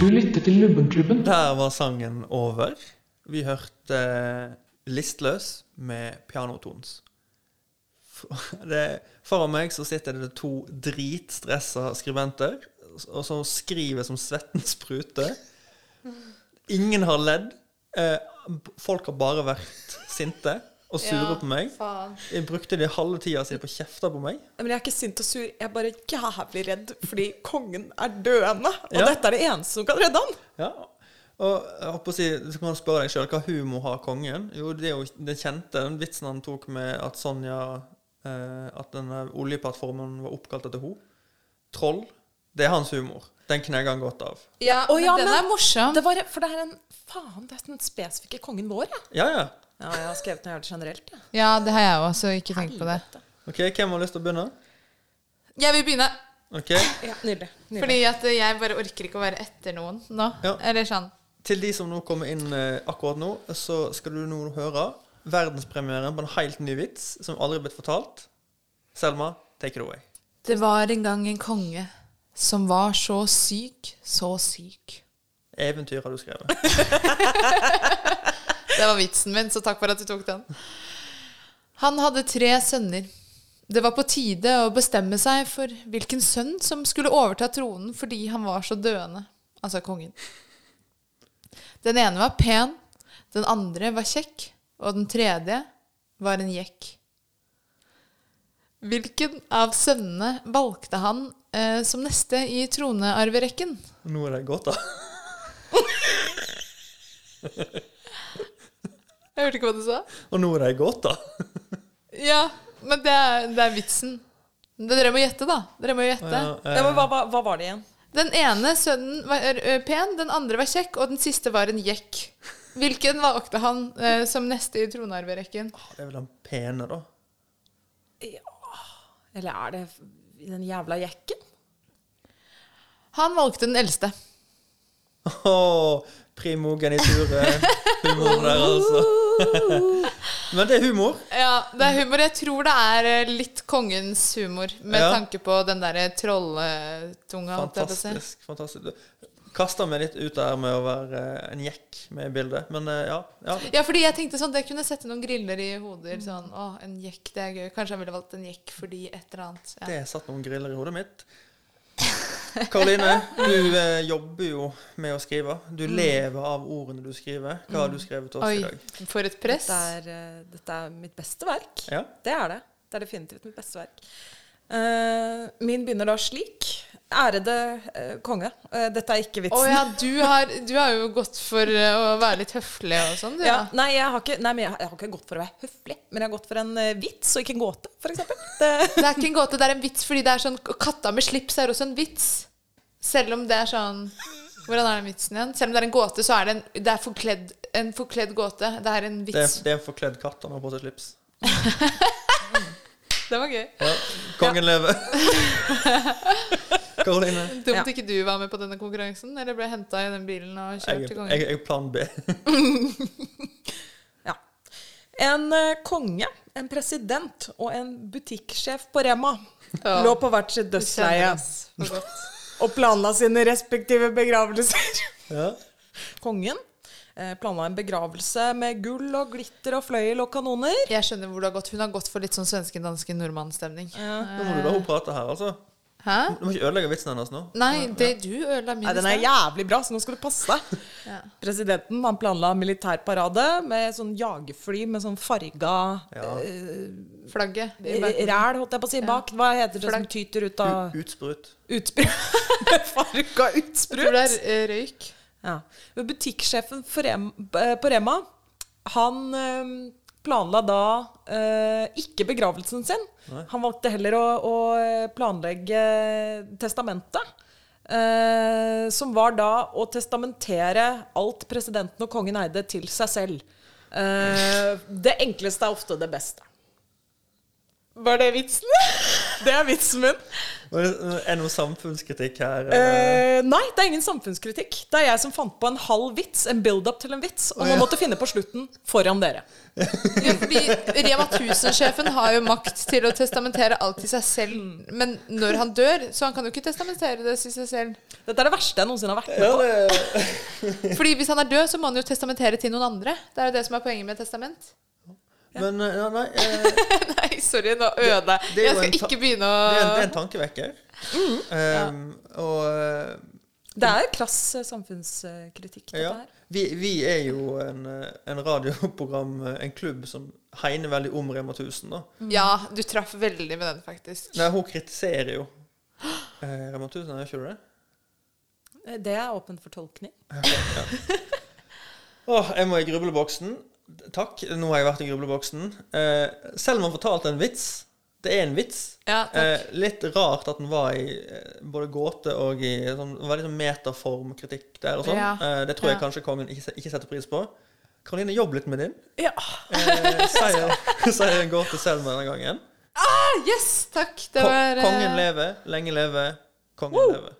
[SPEAKER 1] Du lytter til Lubbenklubben.
[SPEAKER 5] Der var sangen over. Vi hørte Listløs med pianotones. F- Det, foran meg så sitter det to dritstressa skribenter, og som skriver som svetten spruter. Ingen har ledd. Eh, b- Folk har bare vært sinte og sure på meg.
[SPEAKER 6] Faen.
[SPEAKER 5] Jeg brukte de halve tida si på å kjefte på meg.
[SPEAKER 7] Men jeg er ikke sint og sur, jeg er bare jævlig redd fordi kongen er døende. Og
[SPEAKER 5] Ja.
[SPEAKER 7] dette er det eneste som kan redde han.
[SPEAKER 5] Ja. Og jeg holdt på å si, så kan man spørre deg sjøl hva humor har kongen? Jo, det er jo den kjente den vitsen han tok med at Sonja eh, At denne oljeplattformen var oppkalt etter henne. Troll. Det er hans humor. Den knegger han godt av.
[SPEAKER 6] Ja,
[SPEAKER 7] Å,
[SPEAKER 6] men
[SPEAKER 7] ja,
[SPEAKER 6] den
[SPEAKER 7] men-
[SPEAKER 6] er morsom.
[SPEAKER 7] Det var, for det er en faen, det er den spesifikke kongen vår, jeg.
[SPEAKER 5] Ja, ja.
[SPEAKER 7] Ja, jeg har skrevet noe jævlig generelt, jeg.
[SPEAKER 6] Ja, det har jeg òg, så ikke tenk på det.
[SPEAKER 5] Ok, Hvem har lyst til å begynne?
[SPEAKER 6] Jeg vil begynne,
[SPEAKER 5] Ok,
[SPEAKER 7] Ja, nydelig. nydelig.
[SPEAKER 6] fordi at jeg bare orker ikke å være etter noen nå.
[SPEAKER 5] Ja.
[SPEAKER 6] Eller sånn.
[SPEAKER 5] Til de som nå kommer inn eh, akkurat nå, så skal du nå høre verdenspremieren på en helt ny vits som aldri er blitt fortalt. Selma, take it away.
[SPEAKER 6] Det var en gang en konge som var så syk, så syk.
[SPEAKER 5] Eventyr har du skrevet.
[SPEAKER 6] Det var vitsen min, så takk for at du tok den. Han hadde tre sønner. Det var på tide å bestemme seg for hvilken sønn som skulle overta tronen fordi han var så døende, altså kongen. Den ene var pen, den andre var kjekk, og den tredje var en jekk. Hvilken av sønnene valgte han eh, som neste i tronearverekken?
[SPEAKER 5] Nå er det godt, da.
[SPEAKER 6] Jeg hørte ikke hva du sa.
[SPEAKER 5] Og nå er det godt, da.
[SPEAKER 6] Ja, men det er, det er vitsen. Dere må gjette, da. Dere må gjette.
[SPEAKER 7] Ja, men hva, hva, hva var det igjen?
[SPEAKER 6] Den ene sønnen var ø, ø, pen, den andre var kjekk, og den siste var en jekk. Hvilken valgte han ø, som neste i tronarverekken?
[SPEAKER 5] Det er vel den pene, da.
[SPEAKER 7] Eller er det i den jævla jekken?
[SPEAKER 6] Han valgte den eldste.
[SPEAKER 5] Åh, primogeniture. Humoren der, altså. Men det er humor.
[SPEAKER 6] Ja, det er humor. Jeg tror det er ø, litt kongens humor, med
[SPEAKER 5] Ja.
[SPEAKER 6] tanke på den derre trolletunga. holdt jeg på å si.
[SPEAKER 5] Fantastisk. fantastisk. Kasta meg litt ut der med å være eh, en jekk med i bildet, men eh, ja. ja.
[SPEAKER 6] Ja, fordi jeg tenkte sånn, det kunne sette noen griller i hoder. Sånn, å, en jekk, det er gøy. Kanskje han ville valgt en jekk fordi et eller annet. Ja.
[SPEAKER 5] Det satt noen griller i hodet mitt. Karoline, du eh, jobber jo med å skrive. Du lever av ordene du skriver. Hva har du skrevet til oss i dag?
[SPEAKER 6] Mm. Oi, for et press.
[SPEAKER 7] Dette er, eh, dette er mitt beste verk.
[SPEAKER 5] Ja.
[SPEAKER 7] Det er det. Det er definitivt mitt beste verk. Eh, min begynner da slik. Ærede eh, konge. Eh, dette er ikke
[SPEAKER 6] Å
[SPEAKER 7] vitsen.
[SPEAKER 6] ja, du har, du har jo gått for ø, å være litt høflig og sånn, du.
[SPEAKER 7] Ja. Nei, jeg har, ikke, nei, men jeg, har- jeg har ikke gått for å være høflig, men jeg har gått for en eh, vits og ikke en gåte, Eh, f.eks.
[SPEAKER 6] Det er ikke en gåte, det er en vits, fordi det er sånn Katta med slips er også en vits. Selv om det er sånn Hvordan er den vitsen igjen? Selv om det er en gåte, så er det en, det er forkledd, en forkledd gåte. Det er en
[SPEAKER 5] Det er,
[SPEAKER 6] vits.
[SPEAKER 5] det er en forkledd katt han har på seg slips.
[SPEAKER 6] Det, var gøy.
[SPEAKER 5] Ja. Kongen lever. Karoline,
[SPEAKER 6] Dumt
[SPEAKER 7] Ja.
[SPEAKER 6] ikke du var med på denne konkurransen, eller ble henta i den bilen og kjørt
[SPEAKER 5] jeg
[SPEAKER 6] til
[SPEAKER 5] jeg-
[SPEAKER 6] kongen.
[SPEAKER 5] jeg er plan B.
[SPEAKER 7] Ja. En eh, konge, en president og en butikksjef på Rema
[SPEAKER 6] Ja.
[SPEAKER 7] lå på hvert sitt
[SPEAKER 6] Du kjenner
[SPEAKER 7] dødsleie
[SPEAKER 6] oss for godt.
[SPEAKER 7] og planla sine respektive begravelser.
[SPEAKER 5] Ja.
[SPEAKER 7] Kongen eh, planla en begravelse med gull og glitter og fløyel og kanoner.
[SPEAKER 6] Jeg skjønner hvor du har gått. Hun har gått for litt sånn svenske, danske, nordmann-stemning.
[SPEAKER 5] Nå må du la henne prate her, altså.
[SPEAKER 6] Hæ?
[SPEAKER 5] Du må ikke ødelegge vitsen hennes nå.
[SPEAKER 6] Nei, det du ødela min
[SPEAKER 7] Nei, den er jævlig bra, så nå skal du passe deg. Presidenten han planla militærparade med sånn jagerfly med sånn farga
[SPEAKER 5] Ja.
[SPEAKER 6] Flagget. i
[SPEAKER 7] eh,
[SPEAKER 6] bakken.
[SPEAKER 7] ræl, holdt jeg på å si, bak. Hva heter det som
[SPEAKER 6] Flagg.
[SPEAKER 7] tyter ut
[SPEAKER 5] Ah.
[SPEAKER 7] av
[SPEAKER 5] Utsprut.
[SPEAKER 7] utsprut? farga
[SPEAKER 6] Jeg tror
[SPEAKER 7] utsprut?
[SPEAKER 6] det er eh, røyk.
[SPEAKER 7] Ja. Men Butikksjefen for Rem, eh, på Rema, han eh, planla da eh, ikke begravelsen sin. Han valgte heller å, å planlegge eh, testamentet. eh, som var da å testamentere alt presidenten og kongen eide, til seg selv. Eh, det enkleste er ofte det beste. Var det vitsen? Det er vitsen min.
[SPEAKER 5] Er det noe samfunnskritikk her? eller?
[SPEAKER 7] Eh, nei, det er ingen samfunnskritikk. Det er jeg som fant på en halv vits, en build-up til en vits, og nå måtte jeg finne på slutten foran dere.
[SPEAKER 6] Ja, fordi Rema 1000-sjefen har jo makt til å testamentere alt til seg selv. Men når han dør, så han kan jo ikke testamentere det til seg selv.
[SPEAKER 7] Dette er det verste jeg noensinne har vært med
[SPEAKER 5] Ja,
[SPEAKER 7] på.
[SPEAKER 5] det,
[SPEAKER 6] Fordi hvis han er død, så må han jo testamentere til noen andre. Det er jo det som er poenget med testament.
[SPEAKER 5] men eh, ja, nei, eh, det,
[SPEAKER 6] Nei, sorry, nå ødela jeg.
[SPEAKER 5] det er jo
[SPEAKER 6] Jeg skal
[SPEAKER 5] en ta-
[SPEAKER 6] ikke begynne
[SPEAKER 5] er en, det er en
[SPEAKER 6] å
[SPEAKER 5] tankevekker. Ehm, og eh,
[SPEAKER 7] Det er krass eh, samfunnskritikk, dette
[SPEAKER 5] ja,
[SPEAKER 7] her.
[SPEAKER 5] vi, vi er jo en, eh, en radioprogram, eh, en klubb, som hegner veldig om Rema 1000. da.
[SPEAKER 6] Ja, du traff veldig med den, faktisk.
[SPEAKER 5] Nei, hun kritiserer jo eh, Rema 1000, gjør ikke du det?
[SPEAKER 7] Eh, Det er åpent for tolkning.
[SPEAKER 5] Åh, jeg må i grubleboksen. Takk, nå har jeg vært i grubleboksen. Eh, Selman fortalte en vits. Det er en vits.
[SPEAKER 6] Ja, takk.
[SPEAKER 5] Eh, litt rart at den var i eh, både gåte og i sånn, veldig sånn metaformkritikk der og sånn.
[SPEAKER 6] Ja.
[SPEAKER 5] Eh, det tror jeg
[SPEAKER 6] Ja.
[SPEAKER 5] kanskje kongen ikke, se- ikke setter pris på. Karoline, jobb litt med din.
[SPEAKER 7] Ja.
[SPEAKER 5] Eh, sier, sier en gåte Selma denne gangen.
[SPEAKER 6] Ah, yes, takk. Det
[SPEAKER 5] Ko-
[SPEAKER 6] var eh,
[SPEAKER 5] kongen lever, lenge leve, kongen lever.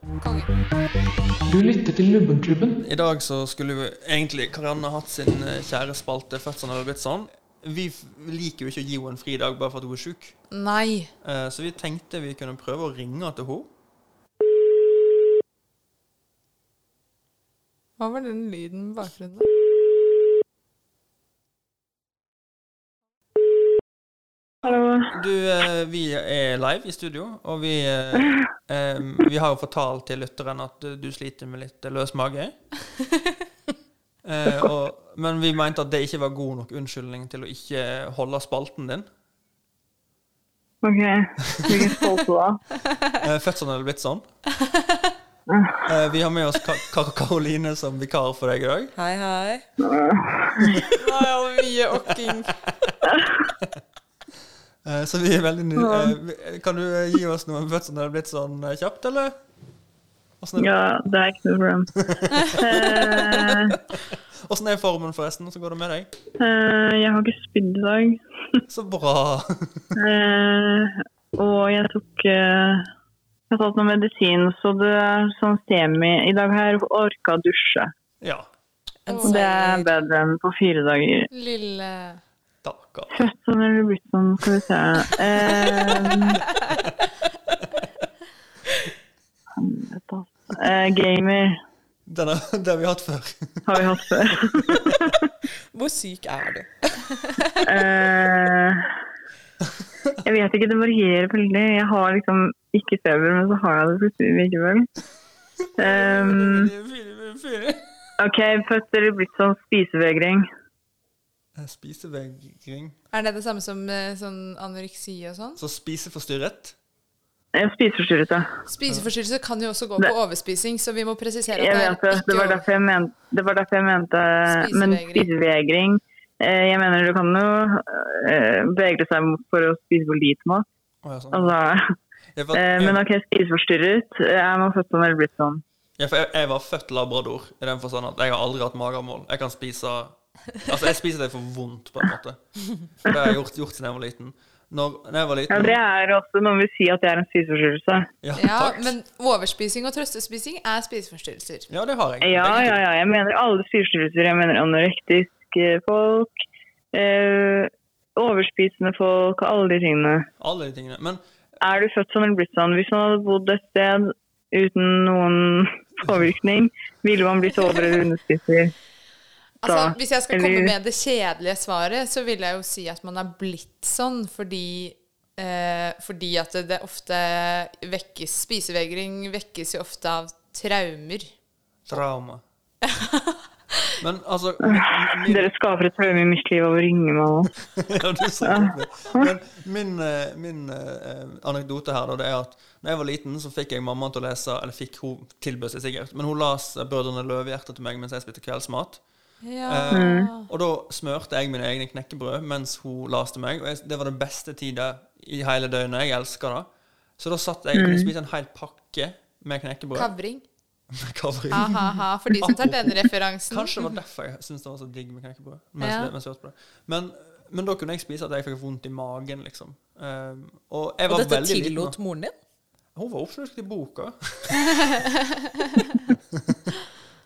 [SPEAKER 1] Du lytter til Lubbenklubben.
[SPEAKER 5] I dag så skulle jo egentlig Karianne hatt sin eh, kjære spalte, fødselen hadde blitt sånn. Vi f- liker jo ikke å gi henne en fridag bare for at hun er sjuk.
[SPEAKER 6] Nei.
[SPEAKER 5] Eh, Så vi tenkte vi kunne prøve å ringe til henne.
[SPEAKER 6] Hva var den lyden i bakgrunnen?
[SPEAKER 5] Du, eh, vi er live i studio, og vi, eh, eh, vi har jo fortalt til lytteren at eh, du sliter med litt eh, løs mage. Eh, og, men vi mente at det ikke var god nok unnskyldning til å ikke holde spalten din.
[SPEAKER 11] Ok, hvilken spalte da?
[SPEAKER 5] Eh, Fødselen hadde blitt sånn. Eh, vi har med oss Ka Ka- Karoline som vikar for deg i dag.
[SPEAKER 7] Hei, hei. Nei, all mye okking.
[SPEAKER 5] Eh, så vi er veldig ny eh, Kan du eh, gi oss noe om fødselen hadde blitt sånn eh, kjapt, eller? Åssen er,
[SPEAKER 11] Ja, det er ikke noe problem. Eh,
[SPEAKER 5] hvordan er formen, forresten? Så går det med deg?
[SPEAKER 11] eh, jeg har ikke spydd i dag.
[SPEAKER 5] Så bra.
[SPEAKER 11] Eh, og jeg tok eh, Jeg har tatt noe medisin, så det er sånn semi I dag har jeg orka å dusje.
[SPEAKER 5] Ja.
[SPEAKER 11] Og det er bedre enn på fire dager.
[SPEAKER 6] Lille
[SPEAKER 5] Takker.
[SPEAKER 11] Sånn er det blitt sånn, skal vi se. Eh, helvete, altså. eh, gamer
[SPEAKER 5] Den er, det har vi hatt før.
[SPEAKER 11] har vi hatt før.
[SPEAKER 7] Hvor syk er du?
[SPEAKER 11] Eh, jeg vet ikke, det varierer veldig. Jeg har liksom ikke feber, men så har jeg det plutselig likevel. Ehm, OK, først er det blitt sånn spisevegring.
[SPEAKER 5] Eh, Spisevegring.
[SPEAKER 6] Er det det samme som eh, sånn anoreksi og sånn?
[SPEAKER 5] Så spiseforstyrret.
[SPEAKER 11] Jeg er Spiseforstyrrelse.
[SPEAKER 6] Spiseforstyrrelse kan jo også gå på overspising, så vi må presisere
[SPEAKER 11] Jeg
[SPEAKER 6] at
[SPEAKER 11] vet det. Det var derfor jeg mente, det var derfor jeg mente Men
[SPEAKER 6] Spisevegring.
[SPEAKER 11] spisevegring eh, Jeg mener du kan jo eh, bevege seg mot- for å spise for lite mat.
[SPEAKER 5] Å, ja, sånn.
[SPEAKER 11] Altså,
[SPEAKER 5] jeg, var,
[SPEAKER 11] eh,
[SPEAKER 5] jeg,
[SPEAKER 11] men OK, spiseforstyrret. Er man født sånn eller blitt sånn?
[SPEAKER 5] jeg, jeg, jeg var født labrador, i den forstand at jeg har aldri hatt magemål. Jeg kan spise Altså, jeg spiser det for vondt, på en måte. Det har jeg gjort, gjort siden jeg var liten. Når, når jeg var
[SPEAKER 11] Ja,
[SPEAKER 5] liten
[SPEAKER 11] det er også noen vil si at det er en spiseforstyrrelse.
[SPEAKER 5] Ja,
[SPEAKER 6] Ja,
[SPEAKER 5] takk.
[SPEAKER 6] men overspising og trøstespising er spiseforstyrrelser.
[SPEAKER 5] ja, det har jeg.
[SPEAKER 11] Ja,
[SPEAKER 5] Begge to.
[SPEAKER 11] ja, ja. Jeg mener alle spiseforstyrrelser. Jeg mener anorektiske folk, eh, overspisende folk, alle de tingene.
[SPEAKER 5] Alle de tingene. Men
[SPEAKER 11] Er du født sånn eller blitt sånn? Hvis man hadde bodd et sted uten noen påvirkning, ville man blitt over- eller underspiser?
[SPEAKER 6] Altså,
[SPEAKER 11] Da,
[SPEAKER 6] hvis jeg skal
[SPEAKER 11] eller-
[SPEAKER 6] komme med det kjedelige svaret, så vil jeg jo si at man er blitt sånn fordi eh, Fordi at det- det ofte vekkes Spisevegring vekkes jo ofte av traumer.
[SPEAKER 5] trauma Men altså min,
[SPEAKER 11] Dere skaper et traume i mitt liv av å ringe meg nå.
[SPEAKER 5] Ja, du sa det. Men min, eh, min eh, anekdote her da, det er at når jeg var liten, så fikk jeg mamma til å lese Eller fikk hun tilbød seg sikkert, men hun las eh, 'Brødrene Løvehjerte' til meg mens jeg spiste kveldsmat.
[SPEAKER 6] Ja.
[SPEAKER 5] Eh, og da smørte jeg mine egne knekkebrød mens hun las til meg. Og jeg, det var den beste tida i hele døgnet. Jeg elsker det. Så da satt jeg og kunne spise en hel pakke med knekkebrød.
[SPEAKER 6] Kavring.
[SPEAKER 5] Kavring.
[SPEAKER 6] Ha-ha-ha, for de som tar den referansen.
[SPEAKER 5] Kanskje det var derfor jeg syntes det var så digg med knekkebrød. Mens,
[SPEAKER 6] Ja.
[SPEAKER 5] mens jeg hørte på det. Men, men da kunne jeg spise at jeg fikk vondt i magen, liksom. Um, og jeg
[SPEAKER 7] Og
[SPEAKER 5] var
[SPEAKER 7] dette
[SPEAKER 5] veldig liten
[SPEAKER 7] tillot
[SPEAKER 5] da.
[SPEAKER 7] moren din?
[SPEAKER 5] Hun var oppslukt i boka.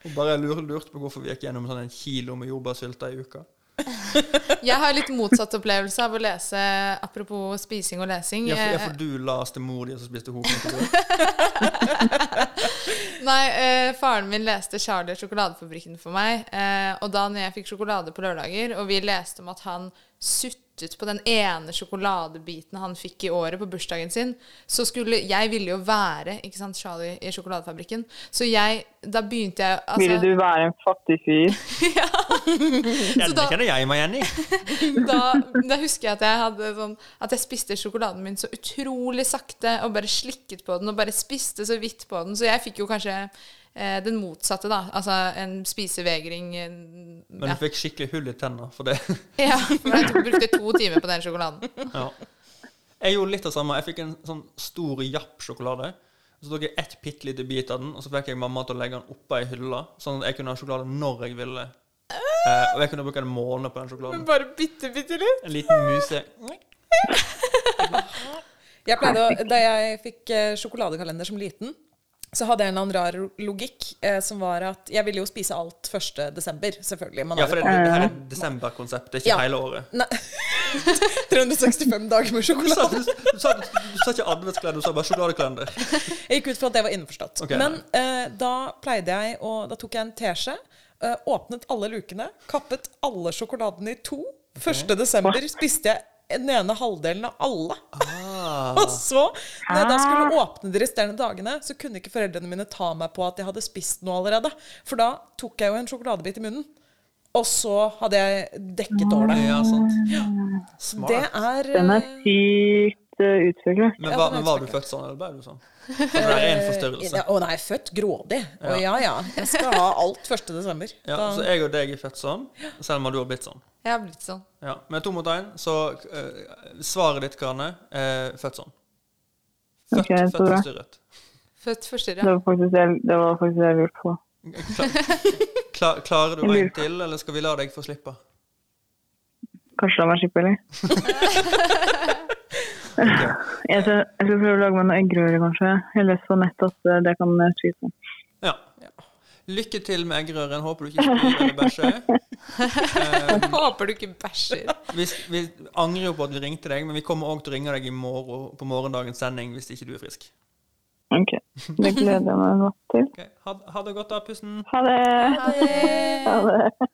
[SPEAKER 5] Hun bare lurte, lurte på hvorfor vi gikk gjennom sånn en kilo med jordbærsylte i uka.
[SPEAKER 6] Jeg har litt motsatt opplevelse av å lese Apropos spising og lesing.
[SPEAKER 5] Ja, for, ja,
[SPEAKER 6] Eh,
[SPEAKER 5] for du las til mor di, og så spiste hun knekkebrød.
[SPEAKER 6] Nei, eh, faren min leste Charlie og sjokoladefabrikken for meg. Eh, og da når jeg fikk sjokolade på lørdager, og vi leste om at han suttet på den ene sjokoladebiten han fikk i året på bursdagen sin, så skulle Jeg ville jo være ikke sant, Charlie i sjokoladefabrikken. Så jeg Da begynte jeg altså-
[SPEAKER 11] Ville du være en fattig fyr?
[SPEAKER 6] Så
[SPEAKER 5] Denne
[SPEAKER 6] da-
[SPEAKER 5] kjenner jeg meg igjen i.
[SPEAKER 6] da, da husker jeg at jeg hadde sånn At jeg spiste sjokoladen min så utrolig sakte, og bare slikket på den, og bare spiste så vidt på den. Så jeg fikk jo kanskje eh, den motsatte, da. Altså en spisevegring. En,
[SPEAKER 5] Men
[SPEAKER 6] ja.
[SPEAKER 5] du fikk skikkelig hull i tenna for det.
[SPEAKER 6] ja, for jeg tok- brukte to timer på den sjokoladen.
[SPEAKER 5] Ja. Jeg gjorde litt av det samme. Jeg fikk en sånn stor japp-sjokolade. Så tok jeg ett bitte lite bit av den, og så fikk jeg mamma til å legge den oppå ei hylle, sånn at jeg kunne ha sjokolade når jeg ville. Eh, og jeg kunne bruke en måned på den sjokoladen.
[SPEAKER 6] Bare bitte, bitte litt.
[SPEAKER 5] En liten muse.
[SPEAKER 7] Jeg pleide å, da jeg fikk eh, sjokoladekalender som liten, så hadde jeg en eller annen rar logikk eh, som var at jeg ville jo spise alt 1. desember, selvfølgelig. Man
[SPEAKER 5] Ja,
[SPEAKER 7] har
[SPEAKER 5] for det,
[SPEAKER 7] jo-
[SPEAKER 5] det her er et desemberkonsept, det er ikke
[SPEAKER 7] Ja.
[SPEAKER 5] hele året.
[SPEAKER 7] Nei. 365 dager med
[SPEAKER 5] Du sa,
[SPEAKER 7] sjokolade.
[SPEAKER 5] du, du sa, du sa ikke adventskalender, du sa bare sjokoladekalender.
[SPEAKER 7] Jeg gikk ut fra at det var innforstått.
[SPEAKER 5] Ok,
[SPEAKER 7] Men eh, da pleide jeg å Da tok jeg en teskje, eh, åpnet alle lukene, kappet alle sjokoladene i to. 1. desember spiste jeg den ene halvdelen av alle.
[SPEAKER 5] Ah.
[SPEAKER 7] Og så, når jeg da skulle åpne de resterende dagene, så kunne ikke foreldrene mine ta meg på at jeg hadde spist noe allerede. For da tok jeg jo en sjokoladebit i munnen, og så hadde jeg dekket over det.
[SPEAKER 5] Ja, sant.
[SPEAKER 7] Det
[SPEAKER 5] Smart.
[SPEAKER 7] er
[SPEAKER 11] Den
[SPEAKER 7] eh,
[SPEAKER 11] er sykt eh, utviklet.
[SPEAKER 5] Men,
[SPEAKER 7] Ja,
[SPEAKER 5] var,
[SPEAKER 7] den er
[SPEAKER 5] men var du
[SPEAKER 7] smart.
[SPEAKER 5] født sånn, eller ble du sånn? For det er en forstørrelse.
[SPEAKER 7] Ja, å nei, født grådig. Å ja ja. Jeg skal ha alt 1. desember.
[SPEAKER 5] Ja,
[SPEAKER 7] Da-
[SPEAKER 5] så jeg og deg er født sånn, selv om du har blitt sånn.
[SPEAKER 6] Jeg har blitt sånn.
[SPEAKER 5] Ja, Med to mot én, så eh, svaret ditt, Karne, er født sånn. Født,
[SPEAKER 11] Ok, så
[SPEAKER 5] født
[SPEAKER 11] bra.
[SPEAKER 5] forstyrret.
[SPEAKER 6] Født
[SPEAKER 11] Det
[SPEAKER 6] forstyrra.
[SPEAKER 11] var faktisk det, det var faktisk det jeg lurte på.
[SPEAKER 5] Kla, klarer du
[SPEAKER 11] Jeg lurer
[SPEAKER 5] en til, eller skal vi la deg få slippe?
[SPEAKER 11] Kanskje la meg slippe, eller? jeg, skal, jeg skal prøve å lage meg noen eggerøre, kanskje. Jeg leste på nettet at eh, det kan jeg spise.
[SPEAKER 5] Ja. Lykke til med eggerøren. Håper du ikke spyr eller bæsjer.
[SPEAKER 6] Håper du ikke bæsjer.
[SPEAKER 5] Vi, vi angrer jo på at vi ringte deg, men vi kommer òg til å ringe deg i morgen på morgendagens sending hvis ikke du er frisk.
[SPEAKER 11] Ok, det gleder jeg meg godt til.
[SPEAKER 5] Ok, Ha, ha det godt, da, pussen.
[SPEAKER 11] Ha det! Ha det.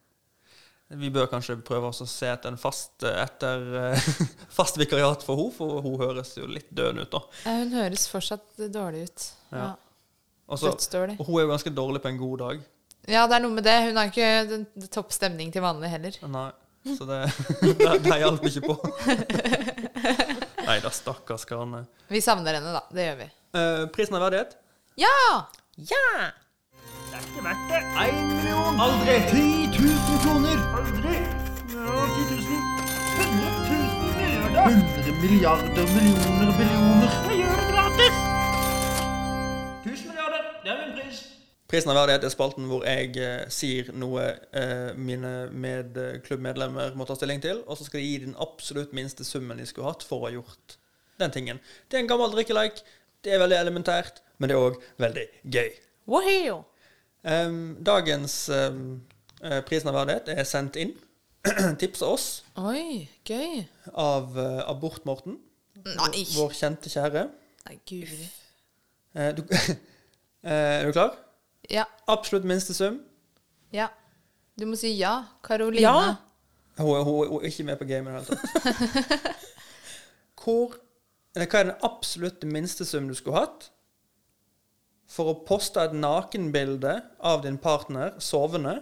[SPEAKER 5] Vi bør kanskje prøve oss å se etter en fast, eh, etter, eh, fast vikariat for henne, for hun høres jo litt døende ut, da.
[SPEAKER 6] Ja, Hun høres fortsatt dårlig ut. Ja.
[SPEAKER 5] Og så-
[SPEAKER 6] Dødsdårlig.
[SPEAKER 5] og hun er jo ganske dårlig på en god dag.
[SPEAKER 6] Ja, det er noe med det. Hun har ikke den- topp stemning til vanlig heller.
[SPEAKER 5] Nei, så det, det, det hjalp ikke på. Nei da, stakkars Karne.
[SPEAKER 6] Vi savner henne, da. Det gjør vi.
[SPEAKER 5] Eh, prisen av verdighet?
[SPEAKER 6] Ja!
[SPEAKER 7] Ja!
[SPEAKER 5] Prisen av verdighet er spalten hvor jeg eh, sier noe eh, mine med, eh, klubbmedlemmer må ta stilling til, og så skal de gi den absolutt minste summen de skulle hatt for å ha gjort den tingen. Det er en gammel drikkeleik. Det er veldig elementært, men det er òg veldig gøy.
[SPEAKER 7] Waheo!
[SPEAKER 5] Em, dagens em, eh, prisen av verdighet er sendt inn. Tips av oss
[SPEAKER 6] Oi, gøy.
[SPEAKER 5] av eh, Abort-Morten,
[SPEAKER 6] Nei,
[SPEAKER 5] vår kjente kjære.
[SPEAKER 6] Nei guri.
[SPEAKER 5] Eh, du, Eh, er du klar?
[SPEAKER 6] Ja,
[SPEAKER 5] Absolutt minste sum.
[SPEAKER 6] ja. Du må si ja. Karoline.
[SPEAKER 7] Ja.
[SPEAKER 5] Hun, er- hun, er- hun er ikke med på gamet i det hele tatt. Hvor, eller hva er den absolutt minste sum du skulle hatt for å poste et nakenbilde av din partner sovende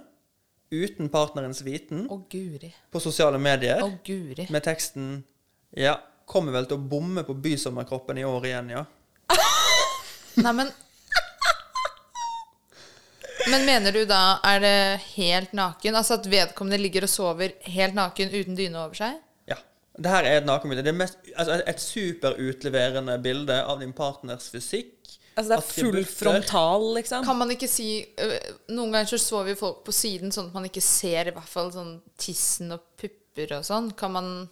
[SPEAKER 5] uten partnerens viten
[SPEAKER 6] Å guri.
[SPEAKER 5] på sosiale medier
[SPEAKER 6] Å guri.
[SPEAKER 5] med teksten Ja, kommer vel til å bomme på bysommerkroppen i år igjen, ja.
[SPEAKER 6] Nei, men Men mener du da er det helt naken? Altså at vedkommende ligger og sover helt naken uten dyne over seg?
[SPEAKER 5] Ja. Det her er et nakenbilde. Det er mest, altså et- et superutleverende bilde av din partners fysikk,
[SPEAKER 7] Altså, det er full
[SPEAKER 5] Attributter.
[SPEAKER 7] frontal, liksom.
[SPEAKER 6] Kan man ikke si øh, Noen ganger så så vi folk på siden, sånn at man ikke ser i hvert fall sånn tissen og pupper og sånn. Kan man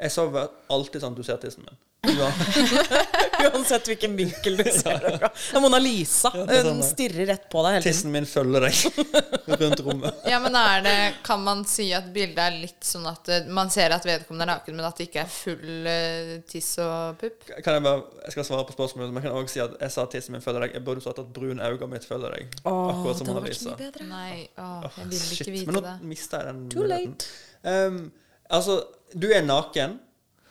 [SPEAKER 5] Jeg sa vel alltid sånn du ser tissen min. Ja.
[SPEAKER 7] Uansett hvilken vinkel du ser det fra. Det er Mona Lisa.
[SPEAKER 5] det er sånn.
[SPEAKER 7] Hun stirrer rett på deg hele tiden.
[SPEAKER 5] Tissen min følger deg rundt rommet.
[SPEAKER 6] Ja, men er det Kan man si at bildet er litt sånn at øh, man ser at vedkommende er naken, men at det ikke er full øh, tiss og pupp?
[SPEAKER 5] Kan jeg bare, jeg skal svare på spørsmålet, men jeg kan også si at jeg sa tissen min følger deg. Jeg burde sagt at brun øyne mitt følger deg. Akkurat som
[SPEAKER 7] det hadde
[SPEAKER 5] Mona
[SPEAKER 7] vært så
[SPEAKER 5] Lisa.
[SPEAKER 7] mye bedre.
[SPEAKER 6] Nei, åh, oh, jeg vil
[SPEAKER 5] Shit,
[SPEAKER 6] ikke
[SPEAKER 5] men
[SPEAKER 6] vite
[SPEAKER 5] nå
[SPEAKER 6] det.
[SPEAKER 5] mista jeg den
[SPEAKER 7] Too
[SPEAKER 5] muligheten.
[SPEAKER 7] late.
[SPEAKER 5] Ehm, altså, du er naken.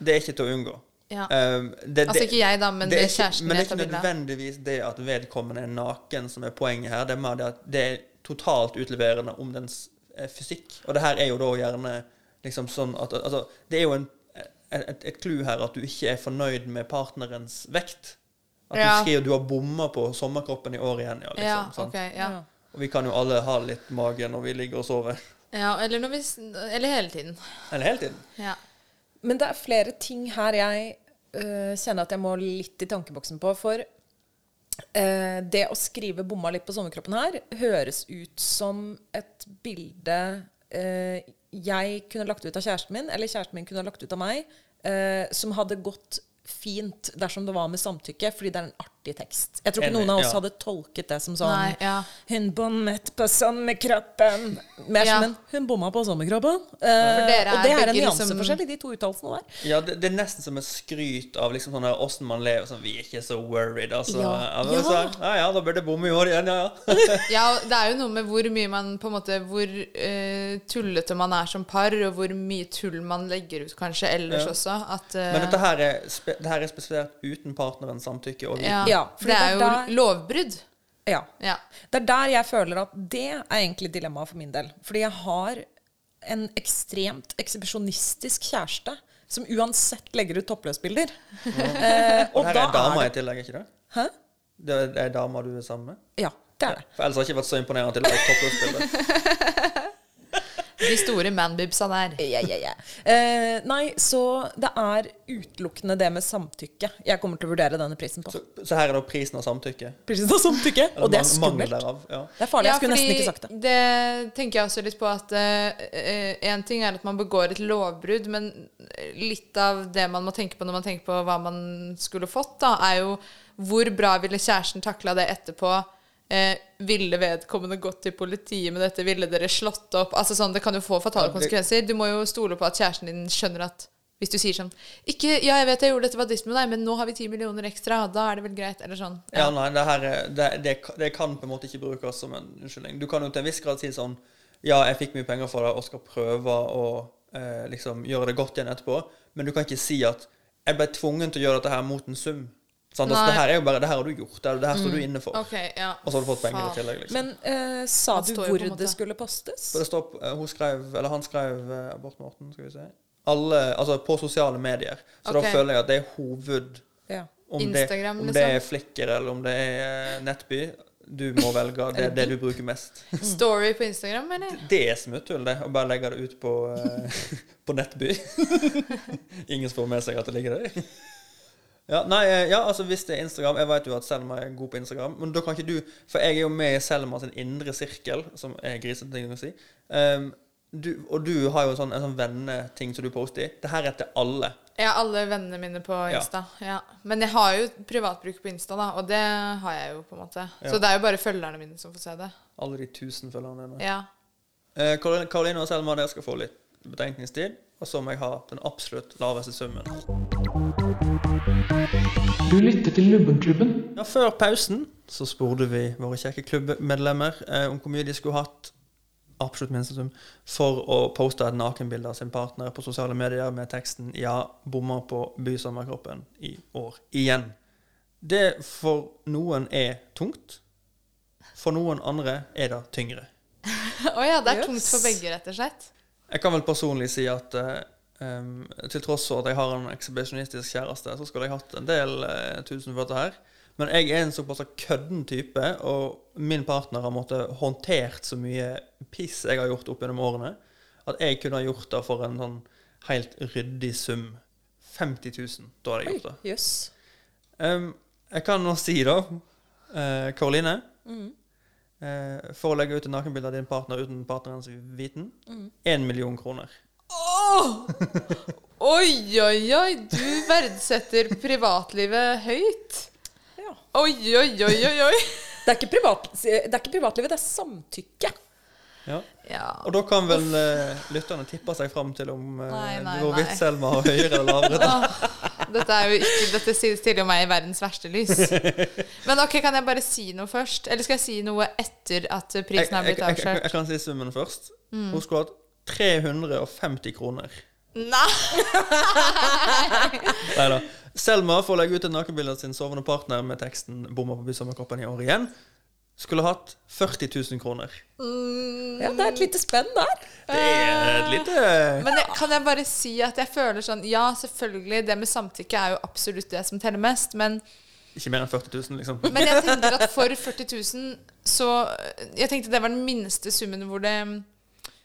[SPEAKER 5] Det er ikke til å unngå.
[SPEAKER 6] Ja.
[SPEAKER 5] Ehm, det-
[SPEAKER 6] Altså
[SPEAKER 5] det-
[SPEAKER 6] ikke jeg, da, men det,
[SPEAKER 5] er
[SPEAKER 6] er
[SPEAKER 5] ikke-
[SPEAKER 6] kjæresten
[SPEAKER 5] Men det
[SPEAKER 6] jeg
[SPEAKER 5] er
[SPEAKER 6] tar
[SPEAKER 5] ikke
[SPEAKER 6] bilde av.
[SPEAKER 5] nødvendigvis det at vedkommende er naken som er poenget her. Det er mer det at det er totalt utleverende om dens eh, fysikk. Og det her er jo da gjerne liksom sånn at Altså, det er jo en, et, et clou her at du ikke er fornøyd med partnerens vekt. At
[SPEAKER 6] Ja.
[SPEAKER 5] du skriver du har bomma på sommerkroppen i år igjen, ja. Liksom,
[SPEAKER 6] Ja,
[SPEAKER 5] sant?
[SPEAKER 6] ok, ja.
[SPEAKER 5] Og vi kan jo alle ha litt mage når vi ligger og sover.
[SPEAKER 6] ja eller, når vi, s- eller hele tiden.
[SPEAKER 5] Eller hele tiden.
[SPEAKER 6] Ja.
[SPEAKER 7] Men det er flere ting her jeg øh, kjenner at jeg må litt i tankeboksen på. For øh, det å skrive 'bomma litt på sommerkroppen' her høres ut som et bilde øh, jeg kunne lagt ut av kjæresten min, eller kjæresten min kunne ha lagt ut av meg, øh, som hadde gått fint dersom det var med samtykke, fordi det er en artig tekst. Jeg tror ikke
[SPEAKER 5] Enig,
[SPEAKER 7] noen av oss
[SPEAKER 5] ja.
[SPEAKER 7] hadde tolket det som sånn
[SPEAKER 6] Nei, ja.
[SPEAKER 7] Hun bommet på sommerkroppen. Mer
[SPEAKER 6] Ja.
[SPEAKER 7] som en 'hun bomma på sommerkroppen'.
[SPEAKER 6] For
[SPEAKER 7] Eh,
[SPEAKER 6] dere
[SPEAKER 7] og det
[SPEAKER 6] er
[SPEAKER 7] er
[SPEAKER 6] begge
[SPEAKER 7] en
[SPEAKER 6] liksom-
[SPEAKER 7] nyanseforskjell i de to uttalelsene der.
[SPEAKER 5] Ja, det, det er nesten som et skryt av liksom sånn her, åssen man lever. Sånn, vi er ikke så worried, altså. Ja, men så, ja, ja da bør det bomme i år igjen, ja, ja.
[SPEAKER 6] Ja, og det er jo noe med hvor mye man på en måte Hvor eh, tullete man er som par, og hvor mye tull man legger ut kanskje ellers
[SPEAKER 5] Ja.
[SPEAKER 6] også. At, eh,
[SPEAKER 5] Men dette her er, spe, det her er spesifisert uten partnerens samtykke. Og vi,
[SPEAKER 6] eh, ja,
[SPEAKER 7] Ja, fordi
[SPEAKER 6] Det er jo
[SPEAKER 7] det er der-
[SPEAKER 6] lovbrudd.
[SPEAKER 7] Ja.
[SPEAKER 6] Ja.
[SPEAKER 7] Det er der jeg føler at det er egentlig dilemmaet for min del. Fordi jeg har en ekstremt eksepsjonistisk kjæreste som uansett legger ut toppløsbilder. Eh,
[SPEAKER 5] og her er en dame i
[SPEAKER 7] det
[SPEAKER 5] tillegg, ikke det?
[SPEAKER 7] Hæ?
[SPEAKER 5] Det er- det er dama du er sammen med?
[SPEAKER 7] Ja, det er det.
[SPEAKER 5] For ellers har jeg ikke vært så imponerende til å lage toppløpsbilde.
[SPEAKER 6] De store manbibsa der.
[SPEAKER 7] Ja, ja, ja. Eh, nei, så det er utelukkende det med samtykke jeg kommer til å vurdere denne prisen på.
[SPEAKER 5] Så, så her er da prisen av samtykke.
[SPEAKER 7] Prisen av samtykke,
[SPEAKER 5] Eller
[SPEAKER 7] og det er
[SPEAKER 5] mang- mangel
[SPEAKER 7] skummelt.
[SPEAKER 5] derav, Ja.
[SPEAKER 7] Det er farlig. Jeg skulle
[SPEAKER 6] fordi
[SPEAKER 7] nesten ikke sagt det.
[SPEAKER 6] det tenker jeg også litt på at én ting er at man begår et lovbrudd, men litt av det man må tenke på når man tenker på hva man skulle fått, da, er jo hvor bra ville kjæresten takla det etterpå? Eh, ville vedkommende gått til politiet med dette? Ville dere slått opp? Altså sånn, Det kan jo få
[SPEAKER 5] Ja,
[SPEAKER 6] fatale
[SPEAKER 5] det-
[SPEAKER 6] konsekvenser. Du må jo stole på at kjæresten din skjønner at hvis du sier sånn ikke, 'Ja, jeg vet jeg gjorde dette var dist med deg, men nå har vi ti millioner ekstra.' Da er det vel greit? Eller sånn.
[SPEAKER 5] Ja, nei, det, her, er- det, det, det kan på en måte ikke brukes som en unnskyldning. Du kan jo til en viss grad si sånn Ja, jeg fikk mye penger for det og skal prøve å eh, liksom gjøre det godt igjen etterpå, men du kan ikke si at jeg ble tvungen til å gjøre dette her mot en sum. Sant? Altså,
[SPEAKER 6] Nei. Mm.
[SPEAKER 5] det her er jo bare Det her har du gjort. Det, det her står du inne for.
[SPEAKER 6] Ok, ja.
[SPEAKER 5] Og så har du fått penger i
[SPEAKER 6] Faen.
[SPEAKER 5] tillegg, liksom.
[SPEAKER 7] Men eh, sa
[SPEAKER 6] Han
[SPEAKER 7] du
[SPEAKER 6] står jo på
[SPEAKER 7] hvor
[SPEAKER 6] en måte-
[SPEAKER 7] det skulle postes?
[SPEAKER 5] Så det står, på- eh, hun skrev, eller han skrev eh, Bård Morten, skal vi si Alle, altså På sosiale medier. Så
[SPEAKER 6] Ok.
[SPEAKER 5] da føler jeg at det er hoved
[SPEAKER 7] Ja.
[SPEAKER 5] om
[SPEAKER 6] Instagram,
[SPEAKER 5] det, om
[SPEAKER 6] liksom.
[SPEAKER 5] det er Flikker eller om det er eh, Nettby. Du må velge det, det du bruker mest.
[SPEAKER 6] Story på Instagram, eller?
[SPEAKER 5] Det er smutthull, det. Å bare legge det ut på, eh, på Nettby. Ingen får med seg at det ligger der. Ja, nei, eh, ja, altså hvis det er Instagram Jeg vet jo at Selma er god på Instagram. Men da kan ikke du For jeg er jo med i Selma sin indre sirkel, som er grisete ting å si. Ehm, du, og du har jo en sånn, en sånn venneting som du poster i. Det her er til alle.
[SPEAKER 6] Ja, alle vennene mine på
[SPEAKER 5] Ja.
[SPEAKER 6] Insta. Ja. Men jeg har jo privatbruk på Insta, da, og det har jeg jo, på en måte. Så det er jo bare følgerne mine som får se det.
[SPEAKER 5] Alle de tusen følgerne dine.
[SPEAKER 6] Ja.
[SPEAKER 5] Eh, Karoline Karoline og Selma, dere skal få litt betenkningstid. Og så må jeg ha den absolutt laveste summen.
[SPEAKER 1] Du lytter til Lubbenklubben.
[SPEAKER 5] Ja, før pausen så spurte vi våre kjekke klubbmedlemmer eh, om hvor mye de skulle hatt absolutt minstesum for å poste et nakenbilde av sin partner på sosiale medier med teksten 'Ja, bomma på bysommerkroppen i år igjen'. Det for noen er tungt. For noen andre er det tyngre.
[SPEAKER 6] Å ja, det er
[SPEAKER 7] Yes.
[SPEAKER 6] tungt for begge, rett og slett.
[SPEAKER 5] Jeg kan vel personlig si at eh, em, til tross for at jeg har en ekshibisjonistisk kjæreste, så skulle jeg hatt en del eh, tusen for dette her. Men jeg er en såpass kødden type, og min partner har måttet håndtert så mye piss jeg har gjort opp gjennom årene, at jeg kunne ha gjort det for en sånn helt ryddig sum. 50 000, da hadde jeg gjort det.
[SPEAKER 7] Jøss.
[SPEAKER 5] Em, jeg kan nå si, da, Eh, Karoline,
[SPEAKER 7] Mhm.
[SPEAKER 5] eh, for å legge ut et nakenbilde av din partner uten partnerens viten,
[SPEAKER 6] Mhm.
[SPEAKER 5] én million kroner.
[SPEAKER 6] Åh! Oi, oi, oi! Du verdsetter privatlivet høyt. Oi, oi, oi, oi, oi.
[SPEAKER 7] Det er ikke, privat, det er ikke privatlivet, det er samtykke.
[SPEAKER 5] Ja.
[SPEAKER 6] Ja.
[SPEAKER 5] Og da kan vel eh, lytterne tippe seg fram til om eh,
[SPEAKER 6] Nei, nei,
[SPEAKER 5] hvorvidt
[SPEAKER 6] nei.
[SPEAKER 5] Selma har høyere eller lavere. da.
[SPEAKER 6] Dette, er jo ikke, dette sier- stiller jo meg i verdens verste lys. Men ok, kan jeg bare si noe først? Eller skal jeg si noe etter at prisen har
[SPEAKER 5] jeg,
[SPEAKER 6] blitt
[SPEAKER 5] jeg, jeg, jeg
[SPEAKER 6] avslørt?
[SPEAKER 5] kan si summen først.
[SPEAKER 6] Mm.
[SPEAKER 5] Hun skulle hatt 350 kroner.
[SPEAKER 6] Nei!
[SPEAKER 5] Nei da. Selma, for å legge ut et nakenbilde av sin sovende partner med teksten 'Bomma på bysommerkroppen i år igjen', skulle hatt 40 000 kroner.
[SPEAKER 7] Ja, det er et lite spenn der.
[SPEAKER 5] Det er et lite
[SPEAKER 6] Men jeg, kan jeg bare si at jeg føler sånn Ja, selvfølgelig, det med samtykke er jo absolutt det som teller mest, men
[SPEAKER 5] Ikke mer enn 40 000, liksom.
[SPEAKER 6] Men jeg tenker at for 40 000 så Jeg tenkte det var den minste summen hvor det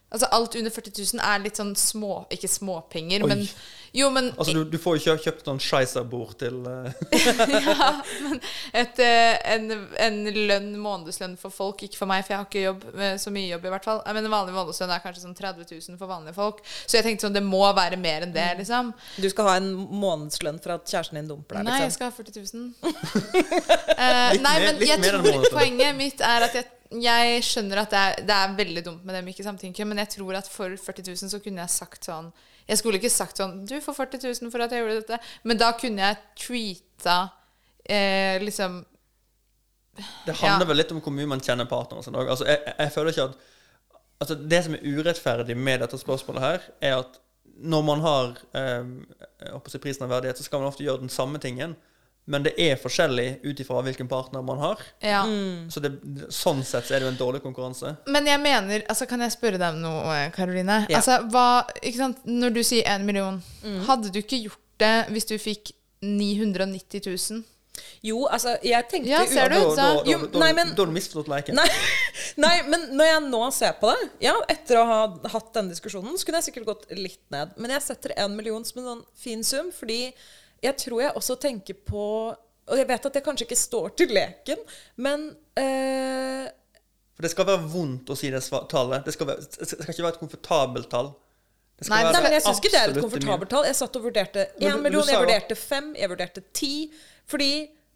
[SPEAKER 6] Altså alt under 40 000 er litt sånn små Ikke småpenger,
[SPEAKER 5] Oi.
[SPEAKER 6] men Jo, men
[SPEAKER 5] Altså, du, du får jo ikke kjøpt sånn Scheisser-bord til eh,
[SPEAKER 6] ja, men et, eh, en, en lønn, månedslønn for folk, ikke for meg, for jeg har ikke jobb, eh, så mye jobb i hvert fall. Eh, Men en vanlig månedslønn er kanskje sånn 30 000 for vanlige folk. Så jeg tenkte sånn, det må være mer
[SPEAKER 5] Mm.
[SPEAKER 6] enn det, liksom.
[SPEAKER 7] Du skal ha en månedslønn for at kjæresten din dumper deg.
[SPEAKER 6] Nei, jeg
[SPEAKER 7] Liksom.
[SPEAKER 6] skal ha 40 000. Eh,
[SPEAKER 7] Litt
[SPEAKER 6] nei,
[SPEAKER 7] mer-
[SPEAKER 6] men
[SPEAKER 7] litt
[SPEAKER 6] jeg
[SPEAKER 7] mer enn
[SPEAKER 6] tror
[SPEAKER 7] månedslønn.
[SPEAKER 6] poenget mitt er at jeg, jeg skjønner at det er, det er veldig dumt med dem ikke samtynke, men jeg tror at for 40 000 så kunne jeg sagt sånn Jeg skulle ikke sagt sånn Du får 40 000 for at jeg gjorde dette, men da kunne jeg tweeta eh, liksom
[SPEAKER 5] Det handler
[SPEAKER 6] Ja.
[SPEAKER 5] vel litt om hvor mye man kjenner partneren sin òg. Altså, jeg, jeg- jeg føler ikke at altså, Det som er urettferdig med dette spørsmålet her, er at når man har eh, jeg håper å si prisen av verdighet, så skal man ofte gjøre den samme tingen. Men det er forskjellig ut ifra hvilken partner man har.
[SPEAKER 6] Ja.
[SPEAKER 7] Mm.
[SPEAKER 5] Så det, sånn sett så er det jo en dårlig konkurranse.
[SPEAKER 6] Men jeg mener, altså kan jeg spørre deg om noe, Karoline?
[SPEAKER 5] Ja.
[SPEAKER 6] Altså, hva, ikke sant? Når du sier én million, hadde du ikke gjort det hvis du fikk 990 000?
[SPEAKER 7] Jo, altså, jeg tenkte
[SPEAKER 6] Ja, ser du?
[SPEAKER 7] jo,
[SPEAKER 6] Da,
[SPEAKER 7] jo, nei, men,
[SPEAKER 5] Da har du misforstått leken.
[SPEAKER 7] nei, nei, men når jeg nå ser på det Ja, etter å ha hatt denne diskusjonen, så kunne jeg sikkert gått litt ned. Men jeg setter en million som en sånn fin sum, fordi jeg tror jeg også tenker på Og jeg vet at det kanskje ikke står til leken, men eh,
[SPEAKER 5] For det skal være vondt å si det sva- tallet. Det skal, være, det skal ikke være et komfortabelt tall. Det skal
[SPEAKER 7] Nei,
[SPEAKER 5] være
[SPEAKER 7] nei, men jeg syns ikke det er et
[SPEAKER 5] absolutt
[SPEAKER 7] komfortabelt tall. Jeg satt og vurderte
[SPEAKER 5] Men du-
[SPEAKER 7] 1
[SPEAKER 5] du
[SPEAKER 7] million,
[SPEAKER 5] sa
[SPEAKER 7] jeg
[SPEAKER 5] jo-
[SPEAKER 7] vurderte 5, jeg vurderte 10. Fordi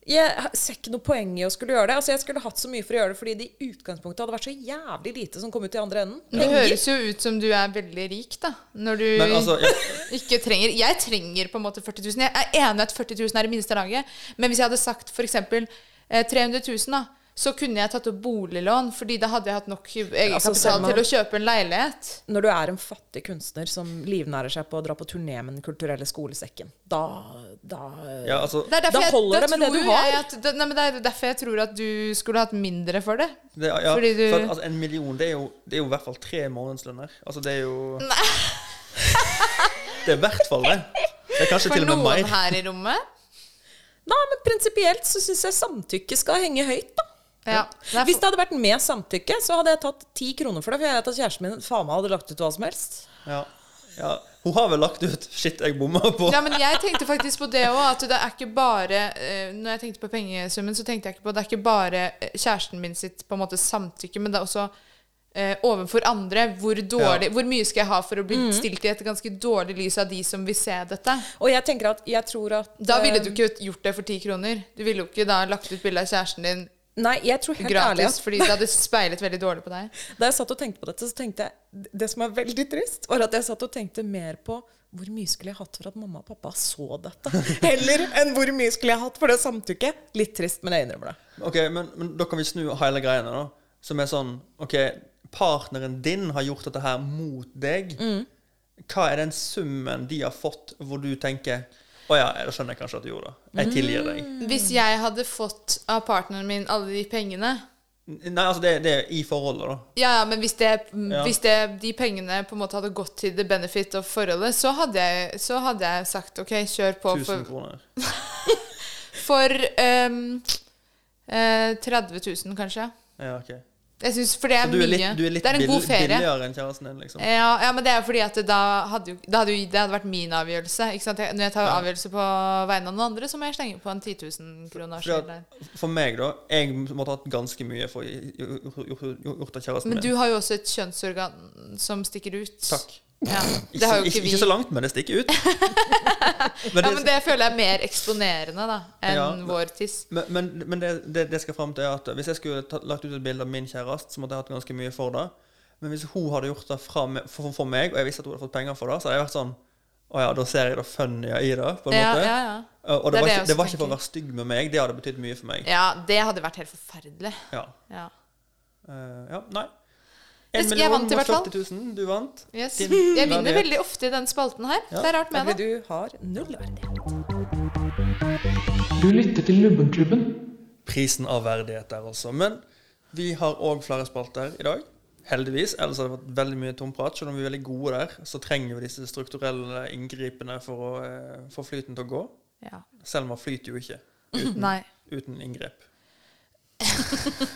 [SPEAKER 7] jeg ser ikke noe poeng i å skulle gjøre det. Altså, Jeg skulle hatt så mye for å gjøre det fordi det i utgangspunktet hadde vært så jævlig lite som kom ut i andre enden.
[SPEAKER 6] Det høres jo ut som du er veldig rik, da. Når du
[SPEAKER 7] Men altså,
[SPEAKER 6] ikke trenger Jeg trenger på en måte 40 000. Jeg er enig i at 40 000 er det minste laget, men hvis jeg hadde sagt f.eks. 300 000, da, så kunne jeg tatt opp boliglån, fordi da hadde jeg hatt nok egenkapital til å kjøpe en leilighet.
[SPEAKER 7] Når du er en fattig kunstner som livnærer seg på å dra på turné med Den kulturelle skolesekken, da, da,
[SPEAKER 5] Ja, altså-
[SPEAKER 6] Det er derfor
[SPEAKER 7] da
[SPEAKER 6] jeg,
[SPEAKER 7] holder
[SPEAKER 6] da
[SPEAKER 7] det med det
[SPEAKER 6] tror
[SPEAKER 7] du har.
[SPEAKER 6] Jeg at, det, nei, men det er derfor jeg tror at du skulle hatt mindre for det.
[SPEAKER 5] Det, er- ja,
[SPEAKER 6] Fordi du
[SPEAKER 5] for at, altså, en million, det er, jo, det er jo i hvert fall tre månedslønner. Altså, det er jo Det er i hvert fall det. Det er kanskje
[SPEAKER 6] For
[SPEAKER 5] til og med
[SPEAKER 6] noen
[SPEAKER 5] meg.
[SPEAKER 6] her i rommet.
[SPEAKER 7] Nei, men prinsipielt så syns jeg samtykke skal henge høyt, da. Hvis det hadde vært med samtykke, så hadde jeg tatt ti kroner for det. For jeg vet at kjæresten min faen meg hadde lagt ut hva som helst.
[SPEAKER 5] Ja. ja. Hun har vel lagt ut 'shit, jeg bomma på'.
[SPEAKER 6] Ja, men jeg tenkte faktisk på det òg. At det er ikke bare eh, Når jeg tenkte på pengesummen, så tenkte jeg ikke på Det er ikke bare eh, kjæresten min sitt på en måte samtykke, men det er også eh, overfor andre. Hvor, dårlig,
[SPEAKER 7] Ja.
[SPEAKER 6] hvor mye skal jeg ha for å bli
[SPEAKER 7] Mhm.
[SPEAKER 6] stilt i et ganske dårlig lys av de som vil se dette?
[SPEAKER 7] Og jeg tenker at jeg tror at
[SPEAKER 6] Da ville
[SPEAKER 7] eh,
[SPEAKER 6] du ikke gjort det for ti kroner. Du ville jo ikke da lagt ut bilde av kjæresten din
[SPEAKER 7] Nei, jeg tror helt ærlig
[SPEAKER 6] gratis,
[SPEAKER 7] at
[SPEAKER 6] fordi det hadde speilet veldig dårlig på deg.
[SPEAKER 7] Da jeg satt og tenkte på dette, så tenkte jeg Det som er veldig trist, var at jeg satt og tenkte mer på hvor mye skulle jeg hatt for at mamma og pappa så dette? Heller enn hvor mye skulle jeg hatt for det samtykket? Litt trist, men jeg innrømmer det.
[SPEAKER 5] Ok, men, men da kan vi snu hele greiene, da. Som er sånn OK, partneren din har gjort dette her mot deg.
[SPEAKER 7] Mm.
[SPEAKER 5] Hva er den summen de har fått, hvor du tenker 'Å ja, da skjønner jeg kanskje at du gjorde det'. Jeg tilgir deg.
[SPEAKER 6] Hvis jeg hadde fått av partneren min alle de pengene Mm.
[SPEAKER 5] Nei, altså, det, det er i forholdet, da.
[SPEAKER 6] Ja, ja, men hvis, det,
[SPEAKER 5] Ja.
[SPEAKER 6] hvis det, de pengene på en måte hadde gått til the benefit of forholdet, så hadde jeg, så hadde jeg sagt OK, kjør på
[SPEAKER 5] 1000
[SPEAKER 6] for,
[SPEAKER 5] kroner.
[SPEAKER 6] for ehm, eh, 30 000, kanskje.
[SPEAKER 5] Ja, ok.
[SPEAKER 6] Jeg synes, for det er,
[SPEAKER 5] Så du er
[SPEAKER 6] mye
[SPEAKER 5] litt, du er litt
[SPEAKER 6] Det er en
[SPEAKER 5] bill-
[SPEAKER 6] god ferie. Eh.
[SPEAKER 5] billigere enn kjæresten din, liksom.
[SPEAKER 6] Ja, ja, men det er jo fordi at da hadde jo, da hadde jo det hadde vært min avgjørelse. Ikke sant? Jeg- Når jeg tar avgjørelse på vegne av noen andre, så må jeg slenge på en 10 000 kroner.
[SPEAKER 5] Fordi
[SPEAKER 6] selv der.
[SPEAKER 5] at, for meg, da Jeg måtte hatt ganske mye for å gjort, gjort, gjort av kjæresten
[SPEAKER 6] Men
[SPEAKER 5] min.
[SPEAKER 6] du har jo også et kjønnsorgan som stikker ut.
[SPEAKER 5] Takk.
[SPEAKER 6] Ja, det
[SPEAKER 5] Ikke,
[SPEAKER 6] har jo
[SPEAKER 5] ikke,
[SPEAKER 6] ikke vi.
[SPEAKER 5] ikke så langt, men det stikker ut. men
[SPEAKER 6] Ja, men det føler jeg er mer eksponerende da enn
[SPEAKER 5] Ja.
[SPEAKER 6] vår tiss.
[SPEAKER 5] Men, men, men det, det, det skal fram til er at hvis jeg skulle tatt, lagt ut et bilde av min kjæreste, så måtte jeg hatt ganske mye for det. Men hvis hun hadde gjort det fra, me- for, for meg, og jeg visste at hun hadde fått penger for det, så hadde jeg vært sånn Å ja, da ser jeg det funny i det, på en
[SPEAKER 6] Ja,
[SPEAKER 5] måte.
[SPEAKER 6] ja, ja.
[SPEAKER 5] Og det, var,
[SPEAKER 6] Det er det jeg
[SPEAKER 5] ikke, det
[SPEAKER 6] også
[SPEAKER 5] var ikke for å
[SPEAKER 6] tenker.
[SPEAKER 5] være stygg med meg. Det hadde betydd mye for meg.
[SPEAKER 6] Ja, det hadde vært helt forferdelig.
[SPEAKER 5] Ja.
[SPEAKER 6] Ja.
[SPEAKER 5] Eh, ja, nei.
[SPEAKER 6] Jeg- jeg vant i hvert fall.
[SPEAKER 5] 40 000, du vant.
[SPEAKER 6] Yes.
[SPEAKER 5] Din
[SPEAKER 6] Jeg vinner
[SPEAKER 5] verdighet.
[SPEAKER 6] veldig ofte i den spalten her.
[SPEAKER 5] Ja.
[SPEAKER 6] Det er rart med det.
[SPEAKER 7] Du har null verdighet.
[SPEAKER 1] Du lytter til Lubbenklubben.
[SPEAKER 5] Prisen av verdighet der også. Men vi har òg flere spalter i dag. Heldigvis. Ellers hadde det vært veldig mye tomprat. Selv om vi er veldig gode der, så trenger vi disse strukturelle inngripene for å eh, få flyten til å gå.
[SPEAKER 6] Ja.
[SPEAKER 5] Selma flyter jo ikke uten,
[SPEAKER 6] Nei.
[SPEAKER 5] uten inngrep.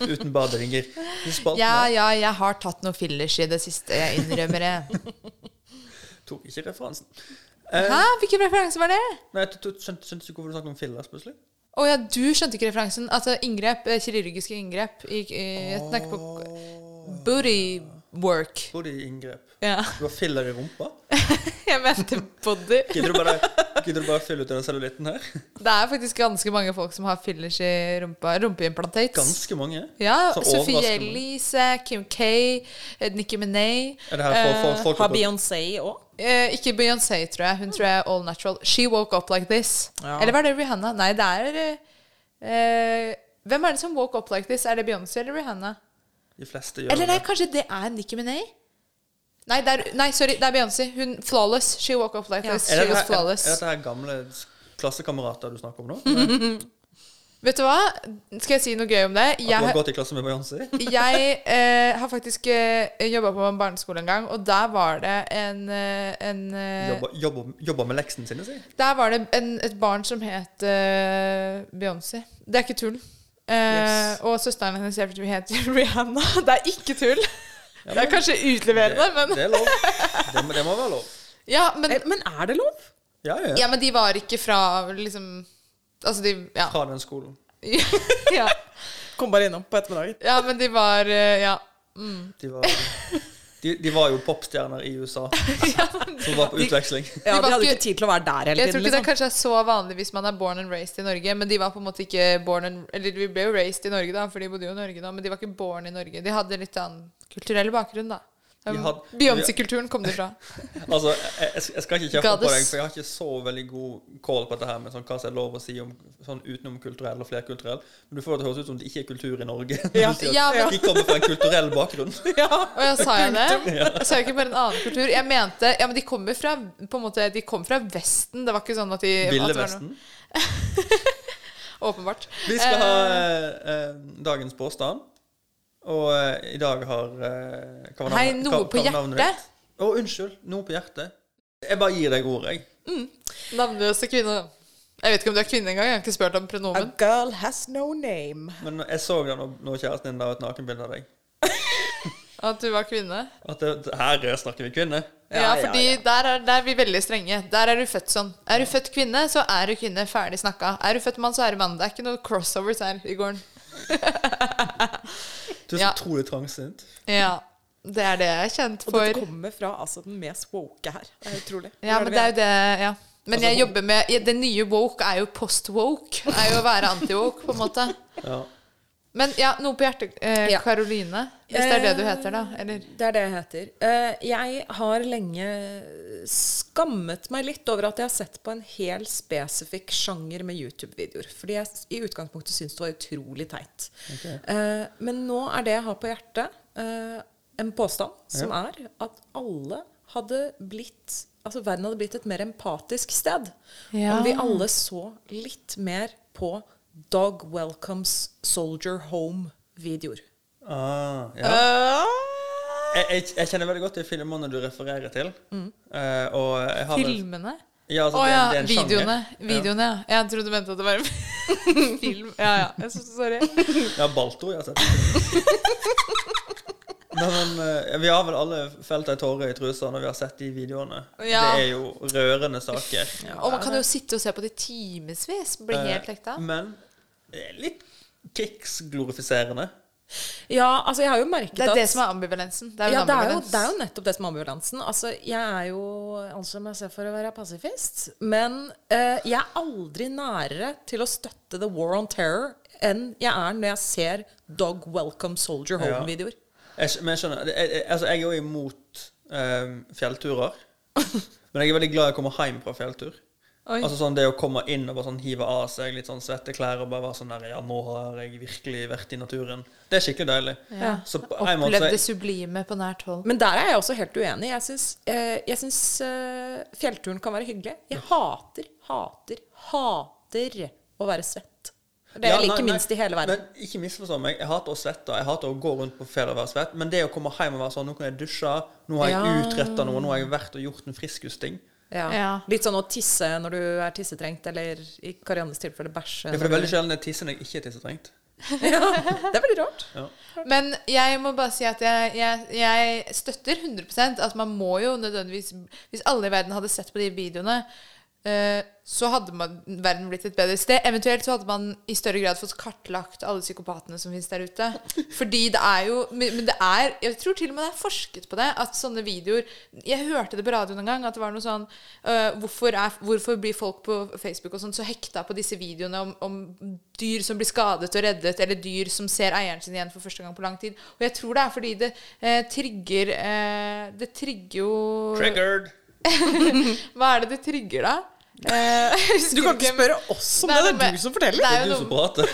[SPEAKER 5] uten baderinger. I spalten
[SPEAKER 6] Ja,
[SPEAKER 5] her
[SPEAKER 6] ja, jeg har tatt noen fillers i det siste. Jeg innrømmer det.
[SPEAKER 5] tok ikke referansen. Eh.
[SPEAKER 6] Hæ? Hvilken referanse var det?
[SPEAKER 5] Nei, du, du, skjønte, skjønte du ikke hvorfor du snakket om fillers plutselig?
[SPEAKER 6] Å ja, du skjønte ikke referansen. Altså inngrep, eh, kirurgiske inngrep. I, i- jeg snakker på booty work.
[SPEAKER 5] Både i inngrep.
[SPEAKER 6] Ja.
[SPEAKER 5] Du har filler i rumpa.
[SPEAKER 6] Jeg mente body.
[SPEAKER 5] Gidder du bare, gidder du bare fylle ut den cellulitten her?
[SPEAKER 6] Det er faktisk ganske mange folk som har fillers i rumpa. Rumpeimplantates.
[SPEAKER 5] Ganske mange.
[SPEAKER 6] Ja,
[SPEAKER 5] Så
[SPEAKER 6] Sophie
[SPEAKER 5] overraskende.
[SPEAKER 6] Elise, Kim K, eh, Nicki Minaj.
[SPEAKER 5] Er det her for, for, folk
[SPEAKER 7] Eh, Har Beyoncé òg?
[SPEAKER 6] Eh, ikke Beyoncé, tror jeg. Hun tror jeg er all natural. She woke up like this.
[SPEAKER 7] Ja.
[SPEAKER 6] Eller var det Rihanna? Nei, det er eh, eh, Hvem er det som woke up like this? Er det Beyoncé eller Rihanna?
[SPEAKER 5] De fleste gjør
[SPEAKER 6] Eller nei,
[SPEAKER 5] det.
[SPEAKER 6] kanskje det er Nicki Minaj? Nei, det er, nei, sorry, det er Beyoncé. Hun flawless. She woke up like this.
[SPEAKER 5] Er
[SPEAKER 6] She
[SPEAKER 5] dette,
[SPEAKER 6] was
[SPEAKER 5] her, er,
[SPEAKER 6] flawless.
[SPEAKER 5] er dette her gamle s- klassekamerater du snakker om nå? Du
[SPEAKER 6] Vet du hva? Skal jeg si noe gøy om det?
[SPEAKER 5] har
[SPEAKER 6] Jeg,
[SPEAKER 5] gått i klasse med Beyoncé?
[SPEAKER 6] jeg eh, har faktisk eh, jobba på en barneskole en gang, og der var det en, eh, en eh,
[SPEAKER 5] Jobber, jobber, jobber med leksene sine, si?
[SPEAKER 6] Der var det en, et barn som het eh, Beyoncé. Det er ikke tull. Eh,
[SPEAKER 5] Yes.
[SPEAKER 6] Og søsteren hennes het Rihanna. Det er ikke tull. det er kanskje
[SPEAKER 5] Det,
[SPEAKER 6] utleverende, men
[SPEAKER 5] det er lov. Det, må- det må være lov.
[SPEAKER 6] ja, men
[SPEAKER 7] Men er det lov?
[SPEAKER 5] Ja, ja.
[SPEAKER 6] Ja, men de var ikke fra liksom Altså, de Ja.
[SPEAKER 5] Fra den skolen.
[SPEAKER 6] ja.
[SPEAKER 7] Kom bare innom på ettermiddagen.
[SPEAKER 6] ja men de var eh, Ja.
[SPEAKER 5] De var, de, de var jo popstjerner i USA, som var på utveksling.
[SPEAKER 7] Ja,
[SPEAKER 6] De var
[SPEAKER 7] de hadde
[SPEAKER 6] ikke-
[SPEAKER 7] ikke tid til å være der hele
[SPEAKER 6] Jeg tror ikke
[SPEAKER 7] tiden.
[SPEAKER 6] det
[SPEAKER 7] Liksom.
[SPEAKER 6] kanskje er så vanlig hvis man er born and raised i Norge, men de var på en måte ikke born and Eller vi ble jo raised i Norge, da, for de bodde jo i Norge da, men de var ikke born i Norge. De hadde litt annen kulturell bakgrunn, da. Um,
[SPEAKER 5] De hadde-
[SPEAKER 6] Beyoncé-kulturen kom de fra.
[SPEAKER 5] Altså, jeg, jeg- jeg skal ikke kjefte på
[SPEAKER 6] Goddess.
[SPEAKER 5] deg, for jeg har ikke så veldig god call på dette her med sånn, hva som er lov å si om sånn utenom kulturell og flerkulturell. Men du får det til å høres ut som det ikke er kultur i Norge.
[SPEAKER 7] Ja,
[SPEAKER 5] Du sier at
[SPEAKER 6] ja, men-
[SPEAKER 5] De kommer fra en kulturell bakgrunn.
[SPEAKER 6] Og jeg sa jeg det? Jeg sa jo ikke bare en annen kultur. Jeg mente Ja, men de kommer fra På en måte De kom fra Vesten. Det var ikke sånn at de at det var
[SPEAKER 5] Ville
[SPEAKER 6] noe-
[SPEAKER 5] Vesten.
[SPEAKER 6] Åpenbart.
[SPEAKER 5] Vi skal ha eh, eh, dagens påstand. Og eh, i dag har eh, hva var
[SPEAKER 6] Hei,
[SPEAKER 5] navnet-
[SPEAKER 6] noe
[SPEAKER 5] hva-
[SPEAKER 6] på
[SPEAKER 5] hva var navnet
[SPEAKER 6] hjertet?
[SPEAKER 5] ditt? Å, unnskyld. Noe på hjertet. Jeg bare gir deg ordet, jeg.
[SPEAKER 6] Navnløse kvinne. Jeg vet ikke om du er kvinne engang. Jeg har ikke spurt om
[SPEAKER 7] A
[SPEAKER 6] pronomen.
[SPEAKER 7] girl has no name.
[SPEAKER 5] Men jeg så da når, når kjæresten din la et nakenbilde av deg,
[SPEAKER 6] At du var kvinne.
[SPEAKER 5] at det, det- her snakker vi kvinne.
[SPEAKER 6] Ja, fordi Der, er, der er vi veldig strenge. Der er du født sånn. Er du født kvinne, så er du kvinne. Ferdig snakka. Er du født mann, så er du mann. Det er ikke noe crossovers her i gården.
[SPEAKER 5] Du er så
[SPEAKER 6] Ja.
[SPEAKER 5] utrolig trangsynt.
[SPEAKER 6] Ja, det er det jeg er kjent
[SPEAKER 7] Og
[SPEAKER 6] for.
[SPEAKER 7] dette kommer fra altså, den mest woke her. Det er utrolig.
[SPEAKER 6] Ja, men det er jo det Ja. Men jeg jobber med Det nye woke er jo post-woke. Er jo å være anti-woke, på en måte.
[SPEAKER 5] Ja.
[SPEAKER 6] Men ja, noe på hjertet. Eh,
[SPEAKER 7] Ja.
[SPEAKER 6] Karoline. Hvis det er det du heter, da. Eller?
[SPEAKER 7] Det er det jeg heter. Eh, jeg har lenge skammet meg litt over at jeg har sett på en hel spesifikk sjanger med YouTube-videoer. Fordi jeg s- i utgangspunktet syntes det var utrolig teit. Eh, men nå er det jeg har på hjertet, eh, en påstand som er at alle hadde blitt Altså verden hadde blitt et mer empatisk sted.
[SPEAKER 6] Ja.
[SPEAKER 7] Om vi alle så litt mer på Dog Welcomes Soldier Home-videoer.
[SPEAKER 5] Ah, ja. jeg, jeg, jeg kjenner veldig godt de filmene du refererer til. Eh, og jeg har vel-
[SPEAKER 6] Filmene?
[SPEAKER 5] Ja,
[SPEAKER 6] Mm. Å
[SPEAKER 5] altså, det,
[SPEAKER 6] ja,
[SPEAKER 5] er- det er en sjanger.
[SPEAKER 6] videoene. Videoene, ja. Jeg trodde du mente at det var en film. Ja, ja. Jeg synes, sorry.
[SPEAKER 5] Ja, Balto. Jeg har sett. Nei, men, eh, vi har vel alle felt ei tåre i trusa når vi har sett de videoene.
[SPEAKER 6] Ja.
[SPEAKER 5] Det er jo rørende saker.
[SPEAKER 6] Og man kan jo sitte og se på det i timevis. Bli helt
[SPEAKER 5] Eh,
[SPEAKER 6] hekta.
[SPEAKER 5] Men det er litt Kicks-glorifiserende.
[SPEAKER 7] Ja, altså jeg har jo merket
[SPEAKER 6] Det er
[SPEAKER 7] at
[SPEAKER 6] det som er ambivalensen. Det er jo
[SPEAKER 7] ja,
[SPEAKER 6] en
[SPEAKER 7] det er, jo,
[SPEAKER 6] ambivalens.
[SPEAKER 7] det er jo nettopp det som er ambulansen. Altså, jeg er jo altså meg selv for å være pasifist, men eh, jeg er aldri nærere til å støtte the war on terror enn jeg er når jeg ser Dog Welcome Soldier
[SPEAKER 5] Ja.
[SPEAKER 7] Home-videoer.
[SPEAKER 5] Jeg, skj- men jeg skjønner det- jeg, jeg, altså, jeg er jo imot eh, fjellturer. Men jeg er veldig glad jeg kommer hjem fra fjelltur.
[SPEAKER 7] Oi.
[SPEAKER 5] Altså sånn Det å komme inn og bare sånn hive av seg litt sånn svette klær og bare være sånn der Ja, nå har jeg virkelig vært i naturen. Det er skikkelig deilig.
[SPEAKER 6] Ja.
[SPEAKER 5] Så på en måte
[SPEAKER 6] Opplevd det sublime på nært hold.
[SPEAKER 7] Men der er jeg også helt uenig. Jeg syns, eh, jeg syns eh, fjellturen kan være hyggelig. Jeg hater, hater, hater å være svett. Det
[SPEAKER 5] Ja,
[SPEAKER 7] jeg liker
[SPEAKER 5] nei, nei,
[SPEAKER 7] minst i hele verden.
[SPEAKER 5] Men ikke misforstå meg. Jeg hater å svette. Jeg hater å gå rundt på ferie og være svett. Men det å komme hjem og være sånn Nå kan jeg dusje. Nå har jeg
[SPEAKER 7] Ja.
[SPEAKER 5] utrettet utretta noe. Nå har jeg vært og gjort en friskusting.
[SPEAKER 7] Ja.
[SPEAKER 6] Ja.
[SPEAKER 7] Litt sånn å tisse når du er tissetrengt, eller i Kariannes tilfelle
[SPEAKER 5] Ja,
[SPEAKER 7] bæsje.
[SPEAKER 5] for det
[SPEAKER 7] når
[SPEAKER 5] er
[SPEAKER 7] du-
[SPEAKER 5] veldig sjelden jeg tisser når jeg ikke er tissetrengt.
[SPEAKER 7] Det er veldig rart.
[SPEAKER 6] Men jeg må bare si at jeg, jeg, jeg støtter 100 at man må jo nødvendigvis Hvis alle i verden hadde sett på de videoene, eh, så hadde man, verden blitt et bedre sted. Eventuelt så hadde man i større grad fått kartlagt alle psykopatene som finnes der ute. Fordi det er jo Men men det er Jeg tror til og med det er forsket på det. At sånne videoer Jeg hørte det på radioen en gang, at det var noe sånn eh, hvorfor, er, hvorfor blir folk på Facebook og sånn så hekta på disse videoene om, om dyr som blir skadet og reddet, eller dyr som ser eieren sin igjen for første gang på lang tid. Og jeg tror det er fordi det eh, trigger eh, Det trigger jo
[SPEAKER 5] Triggered.
[SPEAKER 6] Hva er det det trigger, da? Eh, jeg husker
[SPEAKER 7] Du kan ikke spørre oss om det. Det
[SPEAKER 6] noe
[SPEAKER 7] er
[SPEAKER 6] med-
[SPEAKER 7] du som forteller.
[SPEAKER 6] Det
[SPEAKER 5] Det
[SPEAKER 6] er,
[SPEAKER 5] er du
[SPEAKER 6] jo
[SPEAKER 5] som
[SPEAKER 6] noe,
[SPEAKER 5] prater.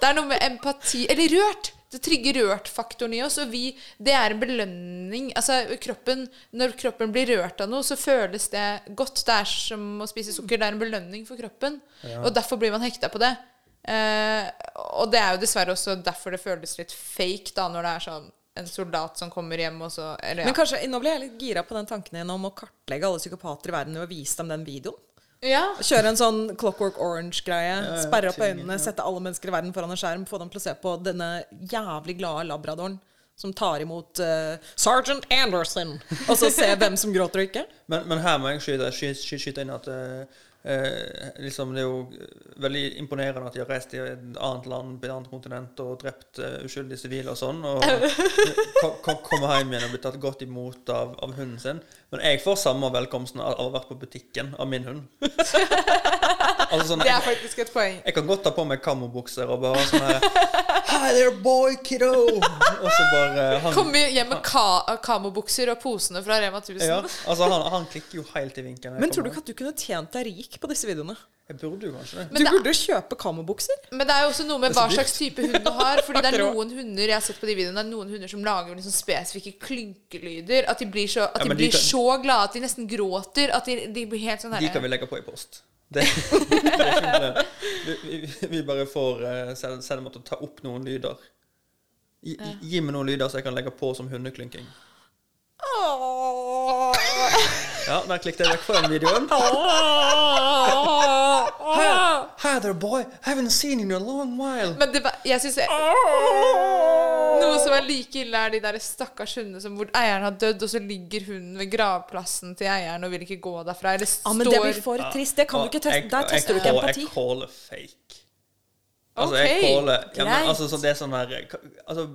[SPEAKER 6] det er noe med empati Eller rørt. Det trigger rørt-faktoren i oss, og vi, det er en belønning. Altså, kroppen, når kroppen blir rørt av noe, så føles det godt. Det er som å spise sukker. Det er en belønning for kroppen. Og derfor blir man hekta på det. Eh, og det er jo dessverre også derfor det føles litt fake, da, når det er sånn en soldat som kommer hjem, og så eller, ja.
[SPEAKER 7] Men kanskje, nå ble jeg litt gira på den tanken igjen om å kartlegge alle psykopater i verden ved å vise dem den videoen.
[SPEAKER 6] ja.
[SPEAKER 7] Kjøre en sånn Clockwork Orange-greie.
[SPEAKER 5] ja,
[SPEAKER 7] Sperre opp
[SPEAKER 5] tingen,
[SPEAKER 7] øynene, sette alle mennesker i verden foran en skjerm, få dem til å se på denne jævlig glade labradoren som tar imot eh, Sergeant Anderson, og så se hvem som gråter og ikke.
[SPEAKER 5] Men, men her må jeg skyte, sky- sky- skyte inn at eh, eh, liksom det er jo eh, veldig imponerende at de har reist til et annet land på et annet kontinent og drept eh, uskyldige sivile og sånn. Og ko- ko- kommer hjem igjen og blir tatt godt imot av, av hunden sin. Men jeg får samme velkomsten av av å ha vært på butikken av min hund. Altså sånn,
[SPEAKER 6] Det
[SPEAKER 5] jeg,
[SPEAKER 6] er faktisk et poeng.
[SPEAKER 5] jeg kan godt ta på meg kamobukser og bare sånn her Hi there, boy, kiddo! Og så bare eh, han,
[SPEAKER 6] Kommer hjem med ka kamobukser og posene fra Rema 1000.
[SPEAKER 5] ja, altså han, han klikker jo helt i vinken. når jeg
[SPEAKER 7] Men tror
[SPEAKER 5] kommer
[SPEAKER 7] du ikke at du kunne tjent deg rik på disse videoene?
[SPEAKER 5] hjem. Jeg burde jo kanskje det.
[SPEAKER 6] Men
[SPEAKER 7] du
[SPEAKER 6] det
[SPEAKER 7] burde jo kjøpe kamobukser.
[SPEAKER 6] Men det er jo også noe med
[SPEAKER 5] Det er
[SPEAKER 6] hva
[SPEAKER 5] så dyrt.
[SPEAKER 6] slags type hund du har. Fordi det er
[SPEAKER 7] Akkurat.
[SPEAKER 6] noen hunder jeg har sett på de videoene Det er noen hunder som lager liksom spesifikke klynkelyder. At de blir så, at
[SPEAKER 5] Ja,
[SPEAKER 6] de
[SPEAKER 5] men de
[SPEAKER 6] blir
[SPEAKER 5] kan-
[SPEAKER 6] så glade at de nesten gråter. At de, de blir helt sånn
[SPEAKER 5] De kan vi
[SPEAKER 6] herre
[SPEAKER 5] legge på i post. Det, det er ikke noe problem. Vi, vi, vi bare får eh, selv, selv om at å ta opp noen lyder. Gi, gi meg noen lyder så jeg kan legge på som hundeklynking. Ja, der klikket jeg vekk fra den videoen. Hi, hi there, boy. Haven't seen you in a long while.
[SPEAKER 6] Men det, var- jeg synes jeg, Noe som er like ille, er de der stakkars hundene som hvor eieren har dødd, og så ligger hunden ved gravplassen til eieren og vil ikke gå derfra. Eller
[SPEAKER 7] Ja,
[SPEAKER 6] står
[SPEAKER 7] men det blir for trist. Det kan du ikke teste.
[SPEAKER 5] Jeg-
[SPEAKER 7] Der tester du
[SPEAKER 5] jeg-
[SPEAKER 7] ikke empati.
[SPEAKER 5] Jeg caller fake. Altså, jeg
[SPEAKER 6] Ok,
[SPEAKER 5] caller ja, men,
[SPEAKER 6] greit.
[SPEAKER 5] altså, sånn, Det er sånn her Altså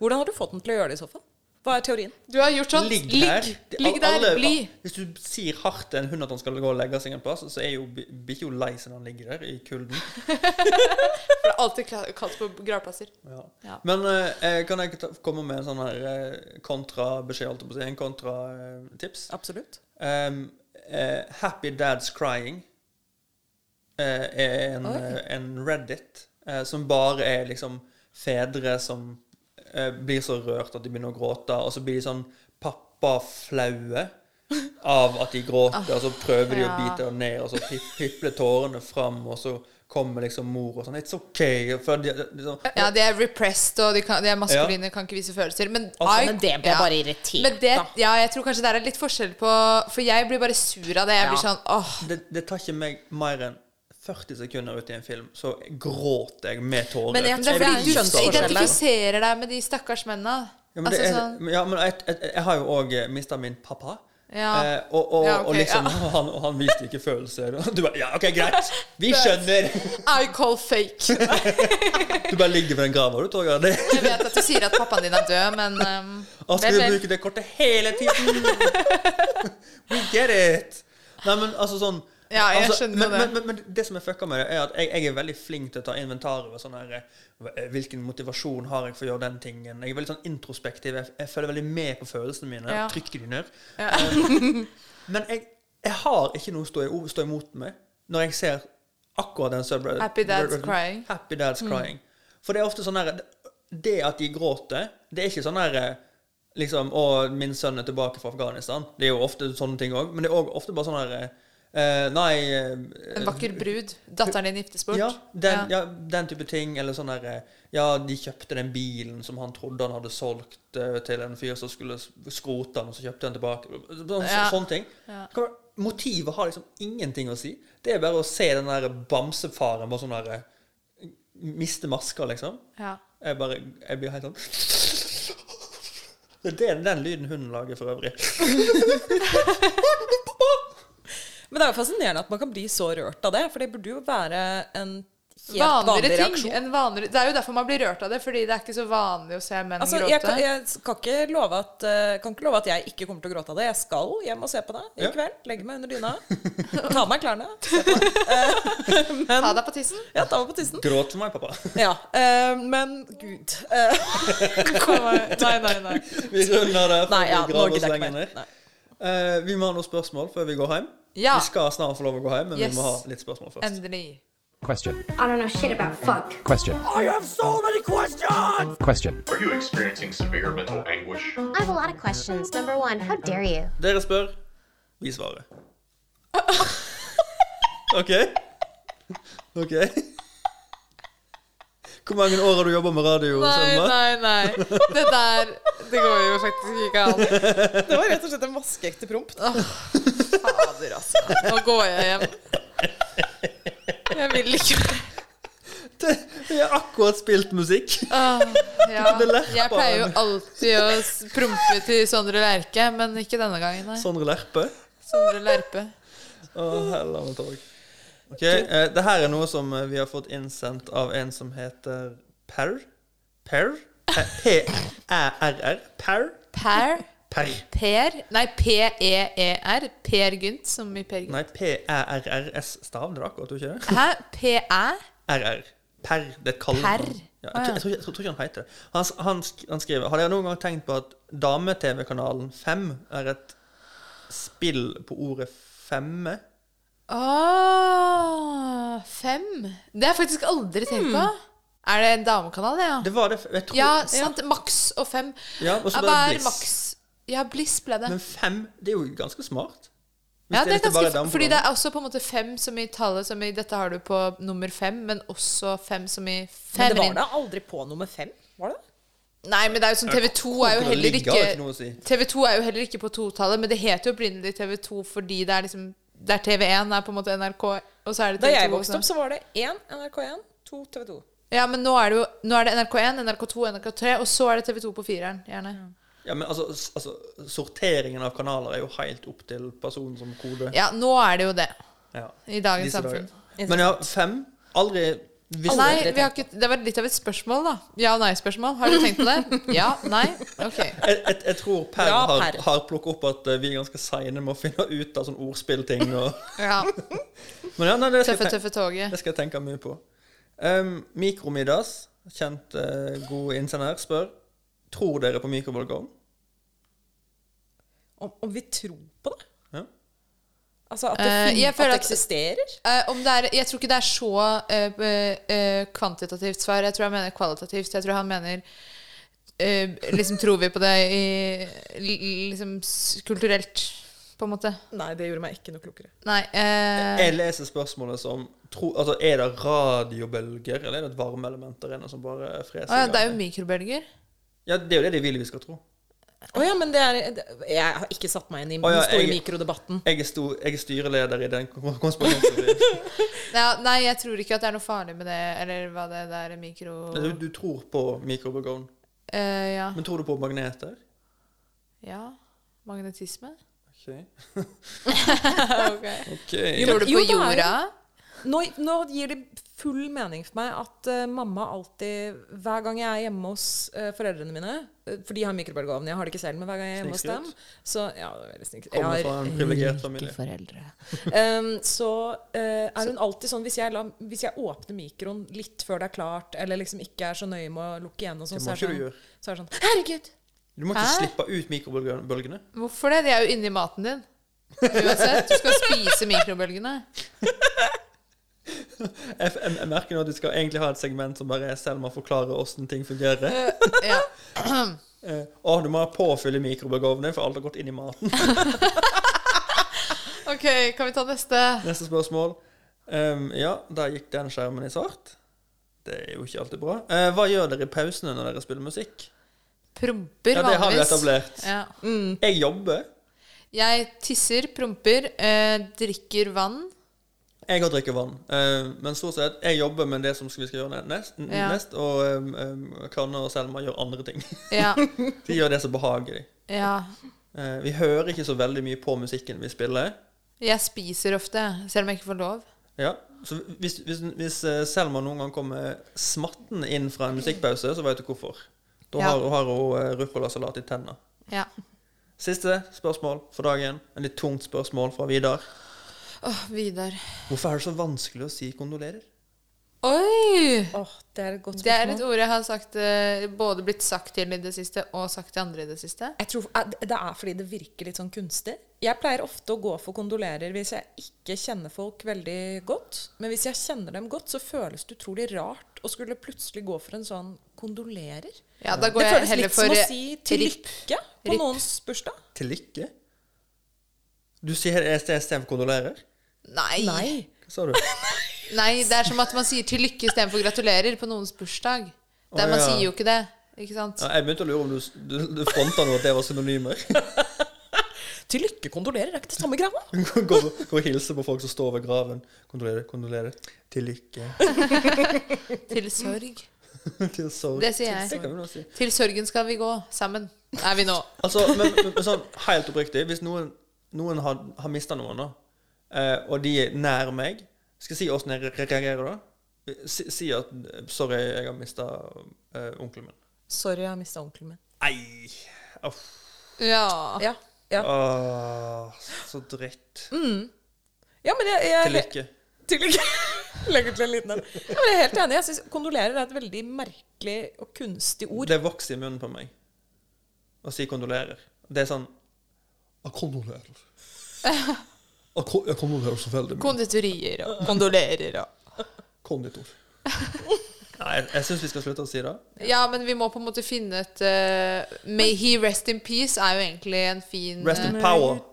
[SPEAKER 7] Hvordan har du fått den til å gjøre det i så fall? Hva er teorien?
[SPEAKER 6] Du har gjort sånn. Ligg,
[SPEAKER 5] Ligg her. Det-
[SPEAKER 6] ligg der.
[SPEAKER 5] alle-
[SPEAKER 6] bli.
[SPEAKER 5] Hvis du sier hardt til en hund at han skal gå og legge seg en plass, så er jo bi- bikkja jo lei seg når han ligger der i kulden.
[SPEAKER 6] For det er alltid kla- kaldt på gravplasser.
[SPEAKER 5] Ja.
[SPEAKER 6] Ja.
[SPEAKER 5] Men eh, eh, kan jeg ta, komme med en sånn her eh, kontrabeskjed, holdt jeg på å si? En kontratips?
[SPEAKER 7] Absolutt.
[SPEAKER 5] Um, eh, Happy Dad's Crying eh, er en,
[SPEAKER 7] Oi.
[SPEAKER 5] eh, en Reddit eh, som bare er liksom fedre som eh, blir så rørt at de begynner å gråte, og så blir de sånn pappaflaue av at de gråter, og så prøver de å
[SPEAKER 6] Ja.
[SPEAKER 5] bite det ned, og så pip, pipler tårene fram, og så kommer liksom mor og sånn It's okay. For de, de, de, sånn-
[SPEAKER 6] Ja, de er repressed, og de, kan, de er maskuline, kan ikke vise følelser. Men,
[SPEAKER 5] Altså,
[SPEAKER 6] I-
[SPEAKER 7] men det ble
[SPEAKER 6] ja.
[SPEAKER 7] bare irritert,
[SPEAKER 6] men det,
[SPEAKER 7] da.
[SPEAKER 6] Ja, jeg tror kanskje det er litt forskjell på For jeg blir bare sur av det. Jeg blir
[SPEAKER 7] Ja.
[SPEAKER 6] sånn åh.
[SPEAKER 5] det, det tar ikke meg mer enn 40 sekunder ut i en film, så gråter jeg med tårer.
[SPEAKER 7] Men jeg-
[SPEAKER 6] Men det er
[SPEAKER 7] Jeg blir
[SPEAKER 6] fordi du
[SPEAKER 7] kjønnsforskjell der.
[SPEAKER 6] identifiserer deg med de stakkars mennene.
[SPEAKER 5] Ja, men,
[SPEAKER 6] Altså,
[SPEAKER 5] det er,
[SPEAKER 6] sånn-
[SPEAKER 5] men- ja, men jeg, jeg, jeg har jo òg mista min pappa.
[SPEAKER 6] Ja.
[SPEAKER 5] Eh, og, og,
[SPEAKER 6] Ja, ok,
[SPEAKER 5] og liksom,
[SPEAKER 6] ja.
[SPEAKER 5] han, og han viste ikke følelser. Og Du bare Ja, OK, greit. Vi skjønner.
[SPEAKER 6] I call fake.
[SPEAKER 5] Du bare ligger ved den grava, du, Torgeir. Det-
[SPEAKER 6] Jeg vet at du sier at pappaen din er død, men ehm,
[SPEAKER 5] Og skal
[SPEAKER 6] vel,
[SPEAKER 5] du
[SPEAKER 6] vel.
[SPEAKER 5] bruke det kortet hele tiden? We get it! Nei, men altså sånn
[SPEAKER 6] Ja, jeg
[SPEAKER 5] altså,
[SPEAKER 6] skjønner
[SPEAKER 5] men,
[SPEAKER 6] det.
[SPEAKER 5] Men, men, men det som jeg fucker med det, er at jeg, jeg er veldig flink til å ta inventar over sånn her eh, Hvilken motivasjon har jeg for å gjøre den tingen? Jeg er veldig sånn introspektiv. Jeg, jeg følger veldig med på følelsene mine.
[SPEAKER 6] Ja.
[SPEAKER 5] Trykker de ned.
[SPEAKER 6] Ja.
[SPEAKER 5] Eh, Men jeg, jeg har ikke noe å stå, i- stå imot med når jeg ser akkurat den subredditen.
[SPEAKER 6] Happy Dad's Crying.
[SPEAKER 5] Happy Dad's
[SPEAKER 6] Mm.
[SPEAKER 5] Crying. For det er ofte sånn her Det at de gråter, det er ikke sånn her liksom Å, min sønn er tilbake fra Afghanistan. Det er jo ofte sånne ting òg. Men det er òg ofte bare sånn her eh, Nei eh,
[SPEAKER 6] En vakker brud. Datteren din giftes bort.
[SPEAKER 5] ja den, ja, den type ting. Eller sånn her eh, Ja, de kjøpte den bilen som han trodde han hadde solgt eh, til en fyr som skulle s- skrote den, og så kjøpte han tilbake. Så, så,
[SPEAKER 6] Ja.
[SPEAKER 5] Sånne ting.
[SPEAKER 6] Ja.
[SPEAKER 5] Hva- Motivet har liksom ingenting å si. Det er bare å se den der bamsefaren bare sånn der eh, Miste maska, liksom.
[SPEAKER 6] Ja.
[SPEAKER 5] Jeg bare Jeg blir helt sånn Det er den lyden hunden lager for øvrig.
[SPEAKER 7] Men det er jo fascinerende at man kan bli så rørt av det, for det burde jo være en helt
[SPEAKER 6] Vanligere
[SPEAKER 7] vanlig
[SPEAKER 6] ting
[SPEAKER 7] reaksjon.
[SPEAKER 6] enn vanligere Det er jo derfor man blir rørt av det, fordi det er ikke så vanlig å se menn
[SPEAKER 7] Altså, jeg,
[SPEAKER 6] gråte.
[SPEAKER 7] kan, jeg skal ikke love at, eh, kan ikke love at jeg ikke kommer til å gråte av det. Jeg skal hjem og se på det i
[SPEAKER 6] Ja.
[SPEAKER 7] kveld. Legge meg under dyna. Ta av meg klærne. se på det. Eh, men-
[SPEAKER 6] Ta deg på tissen.
[SPEAKER 7] Ja, ta meg på tissen.
[SPEAKER 5] Gråt for meg, pappa.
[SPEAKER 7] Ja, eh, men gud eh, Nei, nei, nei.
[SPEAKER 5] Vi runder der. for
[SPEAKER 7] Nei, ja,
[SPEAKER 5] å
[SPEAKER 7] nå
[SPEAKER 5] grave oss
[SPEAKER 7] gidder jeg
[SPEAKER 5] lenger
[SPEAKER 7] ikke mer.
[SPEAKER 5] ned. Eh, vi må ha noen spørsmål før vi går hjem.
[SPEAKER 6] Ja.
[SPEAKER 5] Vi skal snart få lov å gå hjem, men
[SPEAKER 6] Yes.
[SPEAKER 5] vi må ha litt spørsmål først.
[SPEAKER 6] Endelig.
[SPEAKER 12] Question.
[SPEAKER 13] I don't know shit about fuck.
[SPEAKER 12] Question.
[SPEAKER 13] I have so many questions!
[SPEAKER 12] Question.
[SPEAKER 14] Are you experiencing severe mental anguish?
[SPEAKER 13] I have a lot of questions. Number one, how dare you?
[SPEAKER 5] Dere spør, vi svarer. OK? OK? Hvor mange år har du jobba med radio?
[SPEAKER 6] Nei,
[SPEAKER 5] Selma?
[SPEAKER 6] nei, nei. Det der Det går jo faktisk ikke an.
[SPEAKER 7] Det var rett og slett en vaskeekte promp.
[SPEAKER 6] Fader, altså. Nå går jeg hjem. Jeg vil ikke
[SPEAKER 5] Vi har akkurat spilt musikk.
[SPEAKER 6] Åh, ja.
[SPEAKER 5] Det lerpa.
[SPEAKER 6] Jeg pleier jo alltid å s- prompe til Sondre Lerche, men ikke denne gangen, nei.
[SPEAKER 5] Sondre Lerpe.
[SPEAKER 6] Sondre Lerpe.
[SPEAKER 5] Å, helvete torg. Ok, eh, det her er noe som eh, vi har fått innsendt av en som heter Per. Per? Eh, P-æ-r-r. Per?
[SPEAKER 6] Per.
[SPEAKER 5] Per.
[SPEAKER 6] Per. Nei, P-E-E-R. Per Gynt, som i Per Gynt.
[SPEAKER 5] Nei, P-æ-r-r-s-stav. Det er akkurat, tror du ikke det?
[SPEAKER 6] Hæ? P-æ?
[SPEAKER 5] RR. Per. Det er et kallenavn.
[SPEAKER 6] Per?
[SPEAKER 5] Ja,
[SPEAKER 6] Å,
[SPEAKER 5] jeg, tror-
[SPEAKER 6] ja.
[SPEAKER 5] jeg, tror ikke- jeg tror ikke han heter det. Han, s- han, sk- han skriver Har dere noen gang tenkt på at dame-TV-kanalen 5 er et spill på ordet femme?
[SPEAKER 6] Åh, fem. Det har jeg faktisk aldri
[SPEAKER 5] Hmm.
[SPEAKER 6] tenkt på. Er det en damekanal, det, ja?
[SPEAKER 5] Det var det f- jeg tror,
[SPEAKER 6] ja, sant. Maks og fem.
[SPEAKER 5] Ja, og så ble
[SPEAKER 6] Hva
[SPEAKER 5] det
[SPEAKER 6] er
[SPEAKER 5] Bliss.
[SPEAKER 6] maks? Ja, Bliss ble det.
[SPEAKER 5] Men fem, det er jo ganske smart. Hvis
[SPEAKER 6] ja, det er
[SPEAKER 5] dette bare
[SPEAKER 6] ganske,
[SPEAKER 5] dameprogram.
[SPEAKER 6] fordi det er også på en måte fem som i tallet som i 'dette har du på nummer fem', men også fem som i
[SPEAKER 7] Men det var
[SPEAKER 6] feminin.
[SPEAKER 7] da aldri på nummer fem? Var det det?
[SPEAKER 6] Nei, men det er jo sånn TV2 er jo
[SPEAKER 5] Hvor det
[SPEAKER 6] heller
[SPEAKER 5] ligger, har
[SPEAKER 6] ikke
[SPEAKER 5] ikke noe å si.
[SPEAKER 6] TV2 er jo heller ikke på totallet, men det heter jo opprinnelig TV2 fordi det er liksom Det er TV1 er på en måte NRK, og så er det TV2.
[SPEAKER 7] Da jeg
[SPEAKER 6] og
[SPEAKER 7] vokste opp,
[SPEAKER 6] sånn.
[SPEAKER 7] så var det én NRK1, to TV2.
[SPEAKER 6] Ja, men nå er det jo Nå er det NRK1, NRK2, NRK3, og så er det TV2 på fireren, gjerne.
[SPEAKER 5] Ja, men altså, s- altså, sorteringen av kanaler er jo helt opp til personen som kode.
[SPEAKER 6] Ja, nå er det jo det.
[SPEAKER 5] Ja.
[SPEAKER 6] I dagens
[SPEAKER 5] Disse
[SPEAKER 6] samfunn.
[SPEAKER 5] dager. Men ja, fem? Aldri visst-
[SPEAKER 6] nei, vi har ikke, det var litt av et spørsmål, da. Ja- og nei-spørsmål. Har du tenkt på det? Ja? Nei? Ok.
[SPEAKER 5] jeg, jeg, jeg tror Per
[SPEAKER 6] Bra,
[SPEAKER 5] har,
[SPEAKER 6] Per.
[SPEAKER 5] har plukket opp at eh, vi er ganske seine med å finne ut av sånn ordspillting. Og,
[SPEAKER 6] Ja.
[SPEAKER 5] men ja, nei, det skal jeg
[SPEAKER 6] Tøffe,
[SPEAKER 5] tenke-
[SPEAKER 6] tøffe toget.
[SPEAKER 5] Det skal jeg tenke mye på. Um, Mikromiddags, kjent eh, god innsender, spør Tror dere på mikrobølgeovn?
[SPEAKER 7] Om, om vi tror på det?
[SPEAKER 5] Ja.
[SPEAKER 7] Altså at det,
[SPEAKER 6] Eh,
[SPEAKER 7] fin-
[SPEAKER 6] jeg
[SPEAKER 7] at
[SPEAKER 6] føler
[SPEAKER 7] det
[SPEAKER 6] at-
[SPEAKER 7] eksisterer?
[SPEAKER 6] Eh, om det er, jeg tror ikke det er så eh, b- eh, kvantitativt svar. Jeg tror han mener kvalitativt. Jeg tror han mener eh, Liksom tror vi på det i, li, liksom s- kulturelt, på en måte.
[SPEAKER 7] Nei, det gjorde meg ikke noe klokere.
[SPEAKER 6] Nei. eh,
[SPEAKER 5] Jeg leser spørsmålet som tro, altså, Er det radiobølger, eller er det et varmeelement der inne som bare freser?
[SPEAKER 6] å ja, det er jo mikrobølger.
[SPEAKER 5] ja, det er jo det de vil vi skal tro.
[SPEAKER 7] Å ja, men det er det- Jeg har ikke satt meg inn i den
[SPEAKER 5] Å ja,
[SPEAKER 7] store
[SPEAKER 5] jeg-
[SPEAKER 7] mikrodebatten.
[SPEAKER 5] Jeg er, sto, jeg er styreleder i den kon- konspirasjonsteorien.
[SPEAKER 6] Ja, nei, jeg tror ikke at det er noe farlig med det, eller hva det der mikro...
[SPEAKER 5] Du, du tror på mikrobølgeovn?
[SPEAKER 6] Eh, ja.
[SPEAKER 5] Men tror du på magneter?
[SPEAKER 6] ja. Magnetisme?
[SPEAKER 5] Ok.
[SPEAKER 6] ok.
[SPEAKER 5] Ok.
[SPEAKER 6] Tror du på
[SPEAKER 7] det er jo-
[SPEAKER 6] jorda?
[SPEAKER 7] Nå, nå gir det full mening for meg at eh, mamma alltid Hver gang jeg er hjemme hos eh, foreldrene mine eh, For de har mikrobølgeovn, jeg har det ikke selv, men hver gang jeg er hjemme hos dem
[SPEAKER 5] Snikskryt.
[SPEAKER 7] Så ja, det er veldig snikskryt.
[SPEAKER 5] Kommer
[SPEAKER 7] Jeg
[SPEAKER 5] fra
[SPEAKER 7] har
[SPEAKER 5] en privilegert familie.
[SPEAKER 7] rike foreldre. Em, så eh, er hun alltid sånn hvis jeg, la, hvis jeg åpner mikroen litt før det er klart, eller liksom ikke er så nøye med å lukke igjen, og sånn,
[SPEAKER 5] Det
[SPEAKER 7] så,
[SPEAKER 5] må
[SPEAKER 7] er
[SPEAKER 5] ikke du
[SPEAKER 7] det
[SPEAKER 5] gjøre.
[SPEAKER 7] sånn, så er det sånn Herregud!
[SPEAKER 5] Du må ikke
[SPEAKER 6] Hæ?
[SPEAKER 5] slippe ut mikrobølgene.
[SPEAKER 6] Hvorfor det? De er jo inni maten din. Uansett. Du skal spise mikrobølgene.
[SPEAKER 5] Jeg, jeg, jeg merker nå at du skal egentlig ha et segment som bare er Selma forklarer åssen ting fungerer.
[SPEAKER 6] Eh, ja.
[SPEAKER 5] Eh, Å, du må ha påfyll i mikrobølgeovnen, for alt har gått inn i maten.
[SPEAKER 6] OK, kan vi ta neste?
[SPEAKER 5] Neste spørsmål. Ehm, ja, der gikk den skjermen i svart. Det er jo ikke alltid bra. Eh, hva gjør dere i pausene når dere spiller musikk?
[SPEAKER 6] Promper,
[SPEAKER 5] Ja, det har vi
[SPEAKER 6] vanligvis.
[SPEAKER 5] etablert.
[SPEAKER 6] Ja.
[SPEAKER 5] Jeg jobber.
[SPEAKER 6] Jeg tisser, promper, eh, drikker vann.
[SPEAKER 5] Jeg har drikket vann. Eh, men stort sett, jeg jobber med det som vi skal gjøre nest, n-
[SPEAKER 6] Ja.
[SPEAKER 5] nest og um, Kanne og Selma gjør andre ting.
[SPEAKER 6] Ja.
[SPEAKER 5] de gjør det som behager dem.
[SPEAKER 6] Ja.
[SPEAKER 5] Eh, vi hører ikke så veldig mye på musikken vi spiller.
[SPEAKER 6] Jeg spiser ofte, selv om jeg ikke får lov.
[SPEAKER 5] Ja, så hvis, hvis, hvis eh, Selma noen gang kommer smattende inn fra en musikkpause, så vet du hvorfor. Da
[SPEAKER 6] Ja.
[SPEAKER 5] har, har hun eh, ruccolasalat i tenna.
[SPEAKER 6] Ja.
[SPEAKER 5] Siste spørsmål for dagen. En litt tungt spørsmål fra Vidar.
[SPEAKER 6] Åh, Vidar.
[SPEAKER 5] Hvorfor er det så vanskelig å si kondolerer?
[SPEAKER 6] Oi!
[SPEAKER 7] det er et godt
[SPEAKER 6] Det er et
[SPEAKER 7] spørsmål.
[SPEAKER 6] ord jeg har sagt, eh, både blitt sagt til i det siste og sagt til andre i det siste.
[SPEAKER 7] Jeg tror eh, Det er fordi det virker litt sånn kunstig. Jeg pleier ofte å gå for kondolerer hvis jeg ikke kjenner folk veldig godt. Men hvis jeg kjenner dem godt, så føles det utrolig rart å skulle plutselig gå for en sånn kondolerer.
[SPEAKER 6] Ja, da går jeg
[SPEAKER 7] det føles
[SPEAKER 6] heller
[SPEAKER 7] litt
[SPEAKER 6] for,
[SPEAKER 7] som
[SPEAKER 6] eh,
[SPEAKER 7] å si til
[SPEAKER 6] ripp.
[SPEAKER 7] lykke på
[SPEAKER 6] Ripp.
[SPEAKER 7] noens bursdag.
[SPEAKER 5] Til lykke? Du sier istedenfor kondolerer?
[SPEAKER 6] Nei. Nei.
[SPEAKER 5] Hva sa du?
[SPEAKER 6] det er som at man sier til lykke istedenfor gratulerer på noens bursdag.
[SPEAKER 5] Å,
[SPEAKER 6] Der man
[SPEAKER 5] ja.
[SPEAKER 6] sier jo ikke det. Ikke sant?
[SPEAKER 5] Ja, jeg begynte å lure om du, du, du fronta nå at det var synonymer.
[SPEAKER 7] Til lykke kondolerer er ikke det samme greia.
[SPEAKER 5] Gå gå og hilse på folk som står ved graven. Kondolerer, kondolerer. Til lykke.
[SPEAKER 6] Til sorg.
[SPEAKER 5] Til sorg.
[SPEAKER 6] Det sier jeg.
[SPEAKER 5] Det kan vi nå si.
[SPEAKER 6] Til sorgen skal vi gå sammen. Er vi nå.
[SPEAKER 5] Altså, men, men, men sånn helt oppriktig, hvis noen, noen har, har mista noen, da, eh, og de er nær meg, skal jeg si åssen jeg re- reagerer da? Si, si at eh, 'sorry, jeg har mista onkelen min'.
[SPEAKER 7] Sorry, jeg har mista onkelen min.
[SPEAKER 5] Nei! Uff.
[SPEAKER 6] Ja.
[SPEAKER 7] Ja, ja.
[SPEAKER 5] Åh, så dritt.
[SPEAKER 7] Mm. ja men jeg, jeg
[SPEAKER 5] Til lykke.
[SPEAKER 7] Til lykke. Legger til en liten en. Ja, men jeg er helt enig. Jeg syns kondolerer er et veldig merkelig og kunstig ord.
[SPEAKER 5] Det vokser i munnen på meg å si 'kondolerer'. Det er sånn Jeg kondolerer. Jeg kon- jeg kondolerer så veldig mye.
[SPEAKER 6] Konditorier og kondolerer og
[SPEAKER 5] Konditor. Nei, jeg, jeg syns vi skal slutte å si det.
[SPEAKER 6] Ja, men vi må på en måte finne et eh, May he rest in peace er jo egentlig en fin
[SPEAKER 5] Rest in
[SPEAKER 6] eh,
[SPEAKER 5] power.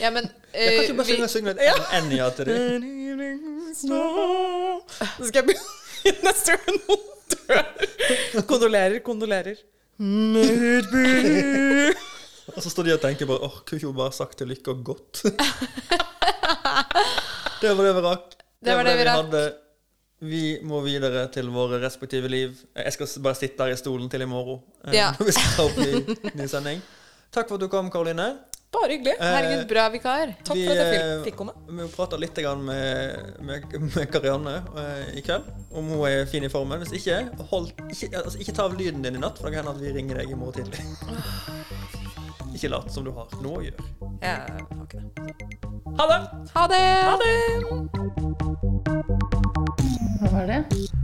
[SPEAKER 6] Ja, men
[SPEAKER 5] Jeg kan
[SPEAKER 6] eh,
[SPEAKER 5] ikke bare
[SPEAKER 6] vi,
[SPEAKER 5] synge, synge litt Enya til dem.
[SPEAKER 7] Så skal jeg begynne neste gang noen dør. Kondolerer, kondolerer.
[SPEAKER 5] Og så står de og tenker bare åh, kunne ikke hun bare sagt til lykke og godt? det var det vi rakk.
[SPEAKER 6] Det var det vi rakk.
[SPEAKER 5] hadde. Vi må videre til våre respektive liv. Jeg skal s- bare sitte her i stolen til i morgen. eh,
[SPEAKER 6] Ja.
[SPEAKER 5] Når vi skal ta opp ny, ny sending. Takk for at du kom, Karoline. Eh,
[SPEAKER 7] Bare hyggelig.
[SPEAKER 6] Herregud, bra vikar.
[SPEAKER 7] Takk
[SPEAKER 5] vi,
[SPEAKER 7] for at jeg
[SPEAKER 5] eh,
[SPEAKER 7] fikk- fikk komme.
[SPEAKER 5] Vi prater litt grann med, med, med Karianne eh, i kveld, om hun er fin i formen. Hvis ikke, hold, ikke, altså, ikke ta av lyden din i natt, for det kan hende at vi ringer deg i morgen tidlig. Ikke lat som du har noe å gjøre.
[SPEAKER 7] Jeg har ikke det. Ha det!
[SPEAKER 6] Ha det!
[SPEAKER 7] Ha det!
[SPEAKER 12] Hva var det?